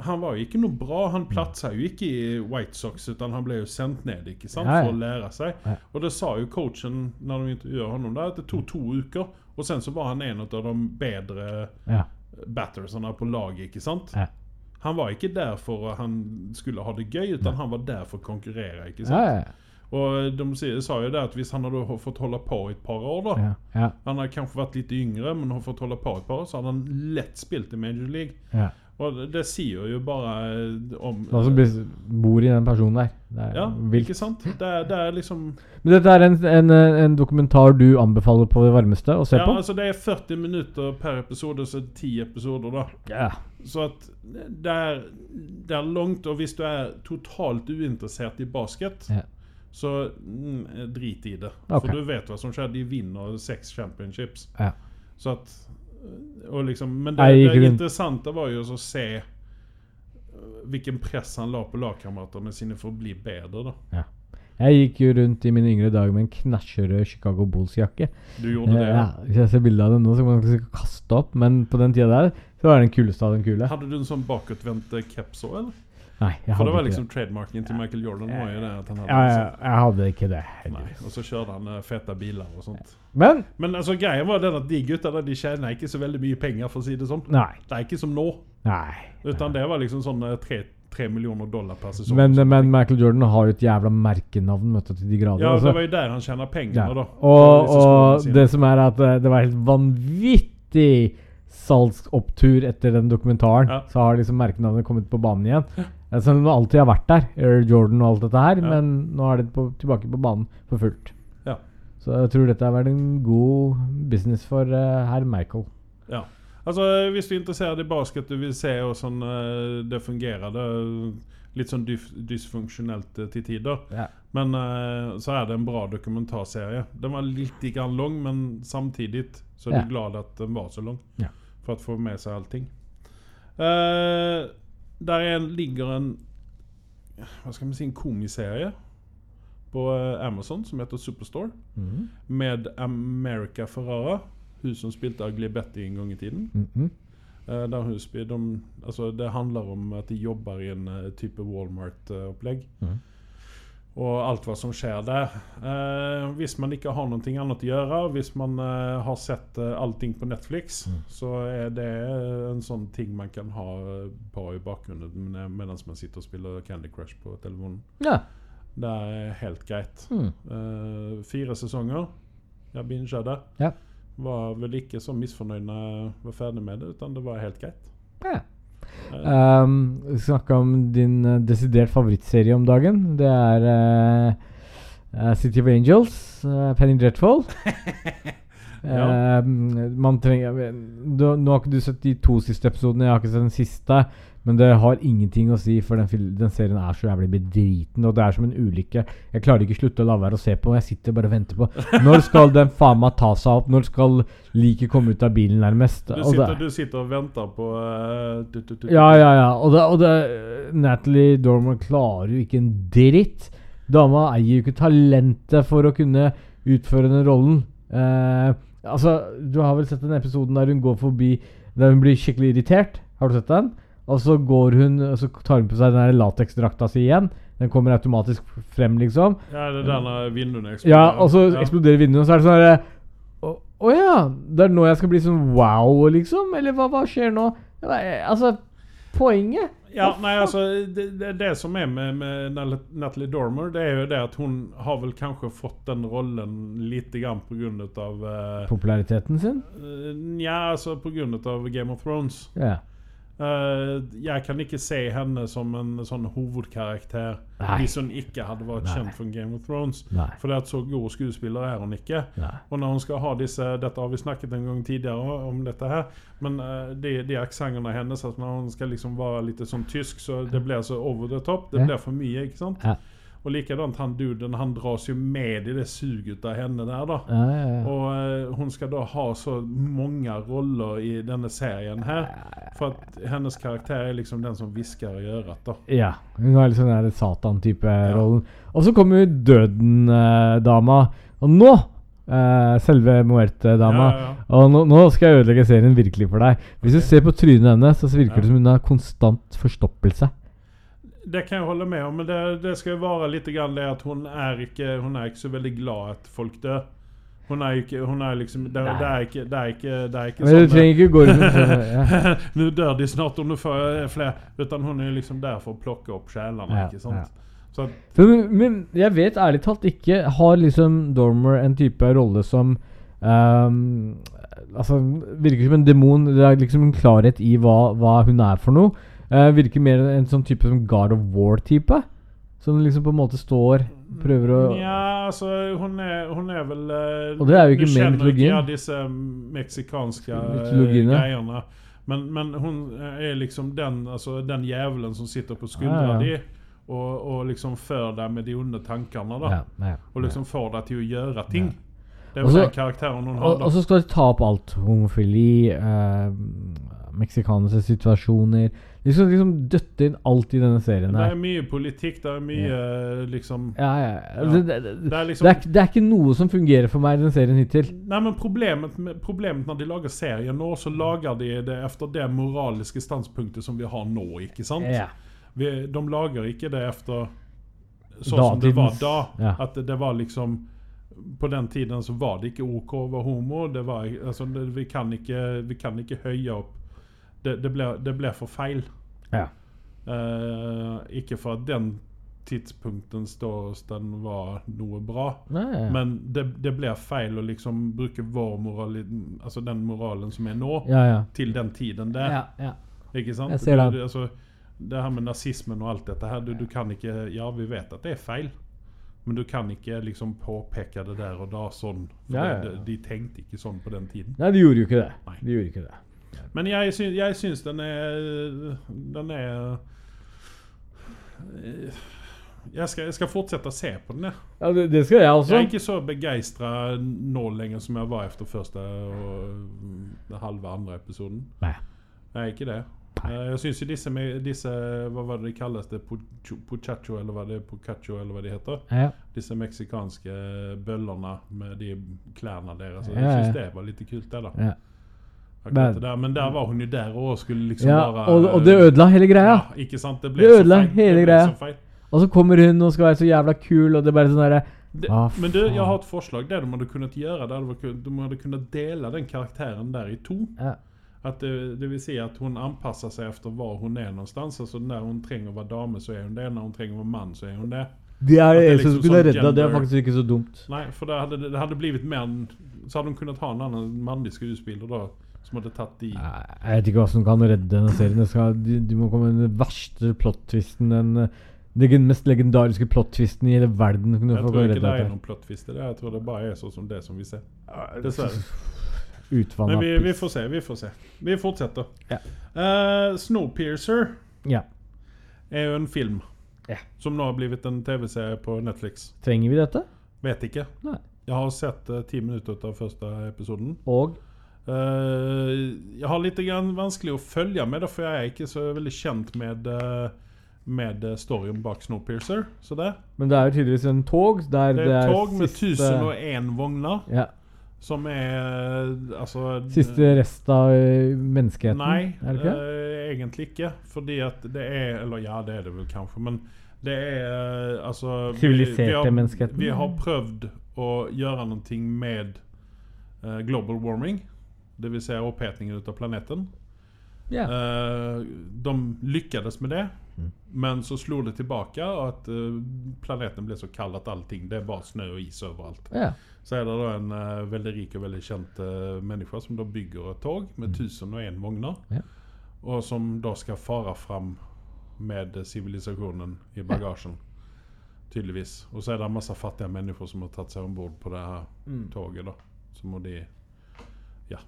Han var jo ikke noe bra. Han platsa jo ikke i White Sox, utan han ble jo sendt ned ikke sant, Ja, ja. for å lære seg. Ja. Og det sa jo coachen når de intervjuet honom der, at det tok to uker. Og sen så var han en av de bedre Ja. battersene på laget, ikke sant? Ja. Han var ikke der for at han skulle ha det gøy, utan han var der for å konkurrere, ikke sant? Ja, ja. Och de se- sa ju det att visst han hade då fått hålla på i ett par år då. Ja, ja, Han hade kanske varit lite yngre men har fått hålla på ett par år så hade han lätt spelat i Major League. ja. Och det- det ser ju bara eh, om... Det er som blir- bor i den personen der. Det er ja, vilt. ikke sant? Det er, det er liksom... Men dette er en, en, en dokumentar du anbefaler på det varmeste å se Ja, på? alltså det är 40 minuter per episode så 10 episoder då. Ja. Så att det är, det är långt och visst du är totalt ointresserad i basket Ja. så mm, drit i det. Okej. För du vet vad som skedde. De vinner sex championships. Ja. Så att, och liksom, men det, Nej, det grym. intressanta var ju att se eh, vilken press han la på lagkamrater med sina för att bli bättre då. Jeg gikk jo rundt i mine yngre dager med en knæsjerød Chicago Bulls-jakke. Du gjorde det. Ja, hvis jeg ser bilde av den nå, så kan man sikkert kaste opp, men på den tida der så var det den kuleste av den kule. Hade du en sån bakåtvänd eh, keps så, eller? Nei, jeg För det hadde var ikke liksom trademarken till Michael Jordan var ju det att han det. hade Ja, en sån. ja, jeg hadde ikke det. Nei, og så kjørte han eh, fete biler og sånt. Men Men altså, greia var den at de gutta der, de tjener ikke så veldig mye penger, for å si det sånn. nei. Det er ikke som nå. nei. Utan det var liksom sånn eh, tre, tre millioner dollar per sesong. Men, men Michael Jordan har jo et jævla merkenavn vet du, til de grader. ja, altså. det var jo der han tjener alltså- Ja. pengene, da. Og, Disse skolene og sine. det som er at eh, det var helt vanvittig salgsopptur etter den dokumentaren. Ja. Så har liksom merkenavnet kommet på banen igjen. Eh, Selv om det alltid har vært der, Air Jordan og alt dette her, Ja. men nå er det på, tilbake på banen for fullt. Ja. Så jeg tror dette har vært en god business for eh, herr Michael. Ja. Alltså, Altså, hvis du er interessert i basket og vil se hvordan eh, det fungerer det er Litt sånn dyf dysfunksjonelt eh, til tider. Ja. Men eh, så er det en bra dokumentarserie. Den var litt grann lang, men samtidig så er Ja. du glad at den var så lang. Ja. For å få med seg allting. Eh, der er, ligger en Hva skal man si, en komiserie på eh, Amazon som heter Superstore. Mhm. Med America Ferrara, hun som spilte Ugly Betty en gang i tiden. Mhm. Eh, der hun spiller, de, altså det handler om at de jobber i en eh, type Walmart-opplegg. Mhm. Og alt hva som skjer der. Eh, hvis man ikke har noe annet å gjøre, hvis man eh, har sett eh, allting på Netflix, så er det eh, en sånn ting man kan ha eh, på i bakgrunnen men- mens man sitter og spiller Candy Crush på telefonen. Ja. Det er helt greit. Mhm. Eh, fire sesonger. Jeg binget det. Ja. Var vel ikke så misfornøyd når jeg var ferdig med det, utan det var helt greit. ja. Eh, Um, Snakka om din eh, desidert favorittserie om dagen. Det er eh, eh, City of Angels, eh, Penny Dreadful. Ja. Um, man trenger du, Nå har ikke du sett de to siste episodene, jeg har ikke sett den siste. Men det har ingenting å si, for den, fil- den serien er så jævlig bedriten. Og det er som en ulykke. Jeg klarer ikke slutte å la være å se på. Jeg sitter bare og venter på Når skal den faen meg ta seg opp? Når skal liket komme ut av bilen, nærmest? du, Og Alltså, det- sitter, du sitter og venter på eh, du, du, du, ja, ja, ja. Og, det, og det, Natalie Dormer klarer jo ikke en dritt. Dama eier jo ikke talentet for å kunne utføre den rollen. Eh, altså, Du har vel sett den episoden der hun går forbi Der hun blir skikkelig irritert? Har du sett den? Og så går hun Og så tar hun på seg den der lateksdrakta si igjen. Den kommer automatisk frem, liksom. Ja, det er der når vinduene Ja, eksploderer. og så Ja. eksploderer vinduet, og så er det sånn herre Å å ja! Det er nå jeg skal bli sånn wow, liksom? Eller hva, hva skjer nå? Nei, Altså, poenget Ja, nei, altså, det, det, det som er med, med Nal- Natalie Dormer, det er jo det at hun har vel kanskje fått den rollen lite grann på grunn av eh, Populariteten sin? eh, Nja, altså på grunn av Game of Thrones. Ja. Eh, jeg kan ikke se henne som en sånn hovedkarakter Nei. hvis hun ikke hadde vært Nei. kjent fra Game of Thrones. Nei. For det at så god skuespiller er hun ikke. Nei. Og når hun skal ha disse Dette har vi snakket en gang tidligere om dette her. Men eh, de, de aksentene hennes at Når hun skal liksom være litt sånn tysk, så det blir så over the top. Det Ja. blir for mye, ikke sant? Ja. Og likedan han duden, han dras jo med i det suget av henne der, da. Ja, ja, ja. Og eh, hun skal da ha så mange roller i denne serien her. For at hennes karakter er liksom den som hvisker i øret. da. ja. Hun har liksom litt sånn der typ, Satan-type-rollen. Og eh, så kommer jo Døden-dama. og nå eh, Selve Moerte-dama. Ja, ja, Og nå, nå skal jeg ødelegge serien virkelig for deg. Hvis Ok. du ser på trynet hennes, så virker Ja. det som hun har konstant forstoppelse. Det kan jeg holde med om, men det, det skal jo være litt grann det at hun er ikke Hun er ikke så veldig glad at folk dør. Hun er ikke Hun er liksom Det, det er ikke Det er ikke, det er ikke Men du sånn trenger ikke gå rundt med sånn ja. eh, Nå dør de snart, og nå får jeg flere Utan hun er liksom der for å plukke opp sjelene, Ja, ikke sant? Så at, For, men, men jeg vet ærlig talt ikke Har liksom Dormer en type rolle som ehm, Altså Virker som en demon. Det er liksom en klarhet i hva, hva hun er for noe. Eh, virker mer en sånn type som God of War-type. Som liksom på en måte står Prøver å Mm, ja, alltså, altså, hun er, hun er vel eh, Og det er jo ikke du med i kjenner mytologien. Ja, disse meksikanske eh, Mytologiene. greiene. Men, men hun eh, er liksom den, altså, den jævelen som sitter på skuldra Ah, Ja, ja. di og, og liksom fører deg med de onde tankene. da ja, ja, Og liksom får deg til å gjøre ting. Det er Og jo så- den karakteren hun har. Og, da. og så skal de ta opp alt. Homofili, eh, meksikanske situasjoner De skal liksom døtte inn alt i denne serien det her. er mye politikk, det er mye eh, liksom Ja, ja, ja. Ja. Det, det, det, Det er liksom det, er, ikke- det er ikke noe som fungerer for meg i den serien hittil. Nei, men problemet, med- problemet når de lager serien nå, så lager de det etter det moraliske standpunktet som vi har nå, ikke sant? Ja. Vi, de lager ikke det efter sånn som det var Datidens- da. ja. At det, det var liksom På den tiden så var det ikke OK å være homo. Det var, altså, det, vi, kan ikke, vi kan ikke høye opp Det, det, ble, det ble for feil. Ja. Eh, ikke for at den tidspunkten ståsten var noe bra. Nei, ja. Men det, det blir feil å liksom bruke vår moral Altså den moralen som er nå, ja, ja. til den tiden der. ja, ja. Ikke sant? Jeg ser Du- den. du- altså, det her med nazismen og alt dette her du, du kan ikke Ja, vi vet at det er feil, men du kan ikke liksom påpeke det der og da sånn. For Ja, ja, ja. Det, de tenkte ikke sånn på den tiden. Nei, de gjorde jo ikke det. Nei. De gjorde ikke det. Men jeg, sy jeg syns den er Den er eh, jeg skal, jeg skal fortsette å se på den. Jeg, Ja, det, det skal jeg også. jeg er ikke så begeistra nå lenger som jeg var etter første og mm, halve andre episoden. Nei. Nei, ikke det. Eh, Jeg syns jo disse, med- disse Hva var det de kalles? Det Pocho- Pochacho, eller hva det Pocacho, eller hva de heter? Ja. Disse meksikanske bøllene med de klærne deres. Ja, ja. Jeg syns det var litt kult, det, da. Ja. Akkurat Men- det der. Men der var hun jo der òg, skulle liksom Ja, bare og, og det ødela hele greia. Ja, ikke sant? Det ble Det så ødela feil. hele Det ble greia. så feil. Og så kommer hun og skal være så jævla kul, og det er bare sånn derre Det, Hva men du, jeg faen? har et forslag. Det de hadde kunnet gjøre, det hadde vært kun- de hadde kunnet dele den karakteren der i to. ja. Att eh, det, det vill säga att hon anpassar sig efter var hon är någonstans. Alltså när hon tränger vara dame så är hon det, när hon tränger vara man så är hon det. Det er det det er eneste som liksom kunne sånn redda. Det er gender- faktisk ikke så dumt. Nej, för det hade, det hade blivit män. Så hade de kunnat ha en annan manlig skådespelare då som hade tagit i. Nei, Jeg vet ikke hva som kan redde denne serien. Det skal, de, de må komme med den verste plot-twisten. Den, eh, den mest legendariske plot-twisten i hele verden. Kunne Jag få tror redde inte det är dette. någon plottvist i det. Jag tror det bara är så som det som vi ser. Dessvärre. Utvanna Men vi, vi piss. får se, vi får se. Vi fortsätter. Ja. Eh, Snowpiercer Ja. är ju en film. Ja. Som nu har blivit en tv-serie på Netflix. Trenger vi dette? Vet inte. Nej. Jag har sett eh, 10 minuter av första episoden. Og Eh, jeg har litt grann vanskelig å følge med, da, for jeg er ikke så veldig kjent med, eh, med eh, storyen bak Snowpiercer. Så det. Men det er jo tydeligvis en tog der Det det, er et er tog med siste, 1001 vogner, ja, som er eh, Altså siste rest av ø, menneskeheten? Nei, Er det ikke det? eh, egentlig ikke. Fordi at det er Eller ja, det er det vel kanskje, men det er eh, altså vi- Siviliserte vi har- menneskeheten. Vi har prøvd å gjøre noe med eh, global warming, dvs. Si opphetningen ut av planeten. Ja. Mm. Eh, de lyckades med det. Men så slog det tillbaka och att eh, planeten blev så kall att allting, det var snö och is överallt. ja. Så är det då en eh, väldigt rik och väldigt känd eh, människa som då bygger ett tåg med 1001 vagnar. Ja. Och som då ska fara fram med eh, civilisationen i bagagen. Tydligvis. Och så är det en massa fattiga människor som har tagit sig ombord på det här tåget då. Som och det, ja.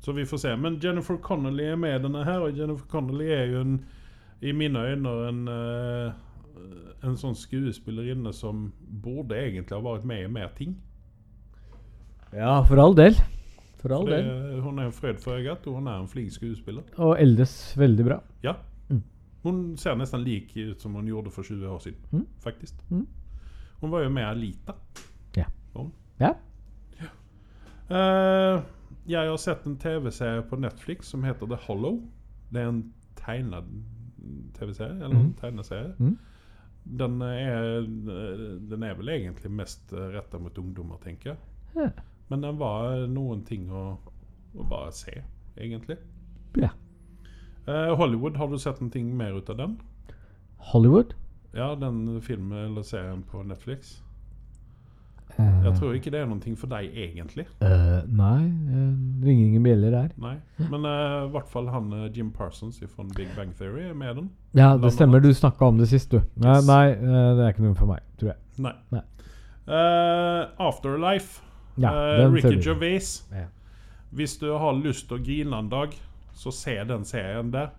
Så vi får se. Men Jennifer Connelly är med i den här och Jennifer Connelly är ju en, i mina ögon en, eh, en sån skuespillerinne som borde egentligen ha varit med i mer ting. ja, for all del. For all Det, del. hun er en frøyd for øyet, og hun er en flink skuespiller. Og eldes veldig bra. Ja. Mm. Hun ser nesten lik ut som hun gjorde for 20 år siden, faktisk. Mm. Hun var jo med i Alita. Ja. var Hun. Ja. Eh, jeg har sett en TV-serie på Netflix som heter The Hollow. Det er en tegnet TV-serie, eller en tegneserie. Mm. Den, er, den er vel egentlig mest retta mot ungdommer, tenker jeg. Ja. Men den var noen ting å, å bare se, egentlig. Ja. Eh, Hollywood, har du sett noe mer ut av den? Hollywood? Ja, den filmen eller serien på Netflix. Eh, Jeg tror ikke det er noe for deg, egentlig. eh, nei, eh, ringer ingen bjeller her. Nei. Men eh, i hvert fall han eh, Jim Parsons fra Big Bang Theory er med i den. Ja, Hva med det stemmer. Du snakka om det sist, du. Nei, Yes. nei, eh, det er ikke noe for meg, tror jeg. Nei. Nei. Eh, Afterlife. Ja, Eh, den ser Ricky vi. Gervais. Ja. Hvis du har lyst til å grine en dag, så se den serien der.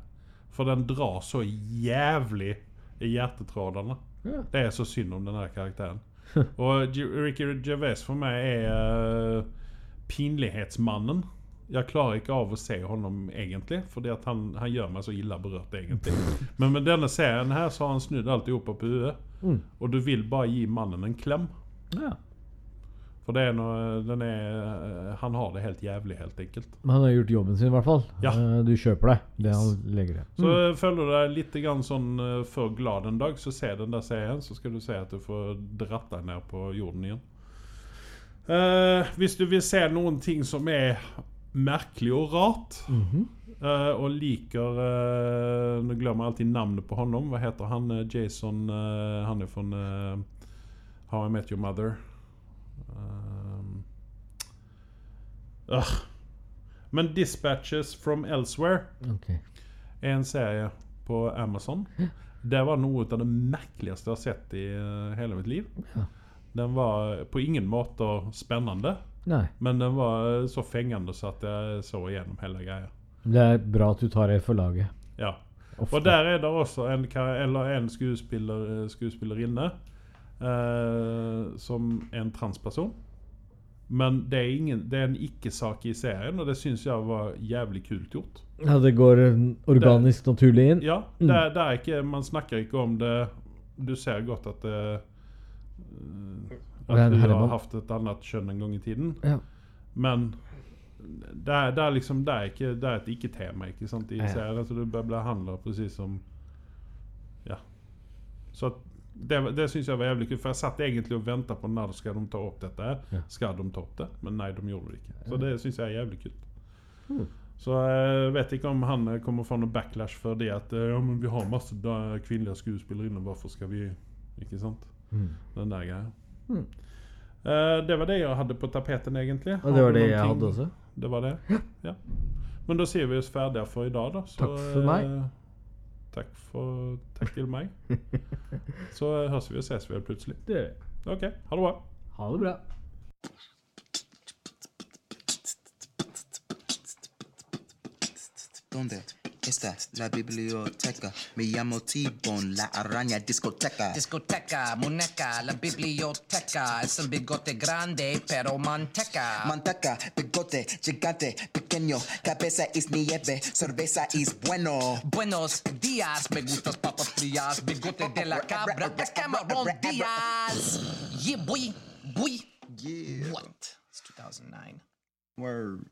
For den drar så jævlig i hjertetrådene. Ja. Hm. Det er så synd om den her karakteren. Og G Ricky Gervais for meg er eh, pinlighetsmannen. Jeg klarer ikke av å se honom egentlig, fordi at han, han gjør meg så ille berørt egentlig. Men med denne serien her så har han snudd alt i hop på huet. Mm. Og du vil bare gi mannen en klem. Ja. For det er noe, den er, han har det helt jævlig, helt enkelt. Men han har gjort jobben sin, i hvert fall. Ja. Eh, du kjøper det. Det han legger det. Så føler du deg litt grann sånn eh, for glad en dag, så se den der serien, så skal du se at du får dratt deg ned på jorden igjen. Eh, hvis du vil se noen ting som er merkelig og rart, eh, og liker eh, Nå glemmer jeg alltid navnet på honom. Hva heter han? eh, Jason eh, Han er fra eh, How I Met Your Mother. Um, ugh. Men Dispatches from Elsewhere Mm, Ok. er en serie på Amazon. Det var noe av det merkeligste jeg har sett i eh, hele mitt liv. Ja. Den var eh, på ingen måte spennende, Nei. men den var eh, så fengende så eh, at jeg så igjennom hele greia. Det er bra at du tar det for laget. Ja. Ofte. Og der er det også en, kar- eller en skuespiller, skuespillerinne eh, som er en transperson. Men det er, ingen, det er en ikke-sak i serien, og det syns jeg var jævlig kult gjort. Ja, det går eh, organisk, naturlig inn. Ja, det, er- det er ikke, man snakker ikke om det. Du ser godt at det eh, Det At er en hun har herremann. hatt et annet kjønn en gang i tiden. Ja. Men det er, det er liksom Det er, ikke, det er et ikke-tema ikke sant, i Alltså, Ja. serien. Så du bør behandla presis som Ja. Så at det, var- det syns jeg var jævlig kult, for jeg satt egentlig og venta på når skal de ta opp dette. her? Ja. Skal de ta opp det? Men nei, de gjorde det ikke. Så Ja. det syns jeg er jævlig kult. Hmm. Så jeg vet ikke om han eh, kommer få noe backlash for det at eh, ja, men vi har masse da- kvinnelige skuespillere inne, hvorfor skal vi Ikke sant? Mm. Den der greia. Hmm. Eh, det var det jeg hadde på tapeten, egentlig. Og det Har var du det noen jeg ting- hadde også. det var det? Ja. Men da sier vi oss ferdige for i dag, da. Så, Takk for meg. eh, Takk, for, takk til meg. Så eh, høres vi og ses vel plutselig. Det gjør jeg. OK, ha det bra. Ha det bra. ¿Dónde está la biblioteca? Me llamo T-Bone, la araña discoteca. Discoteca, muñeca, la biblioteca. Es un bigote grande, pero manteca. Manteca, bigote, gigante, pequeño. Cabeza es nieve, cerveza es bueno. Buenos días, me gustas papas frías. Bigote de la cabra, de camarón Díaz. Yeah, boy, boy. Yeah. What? It's 2009. Word.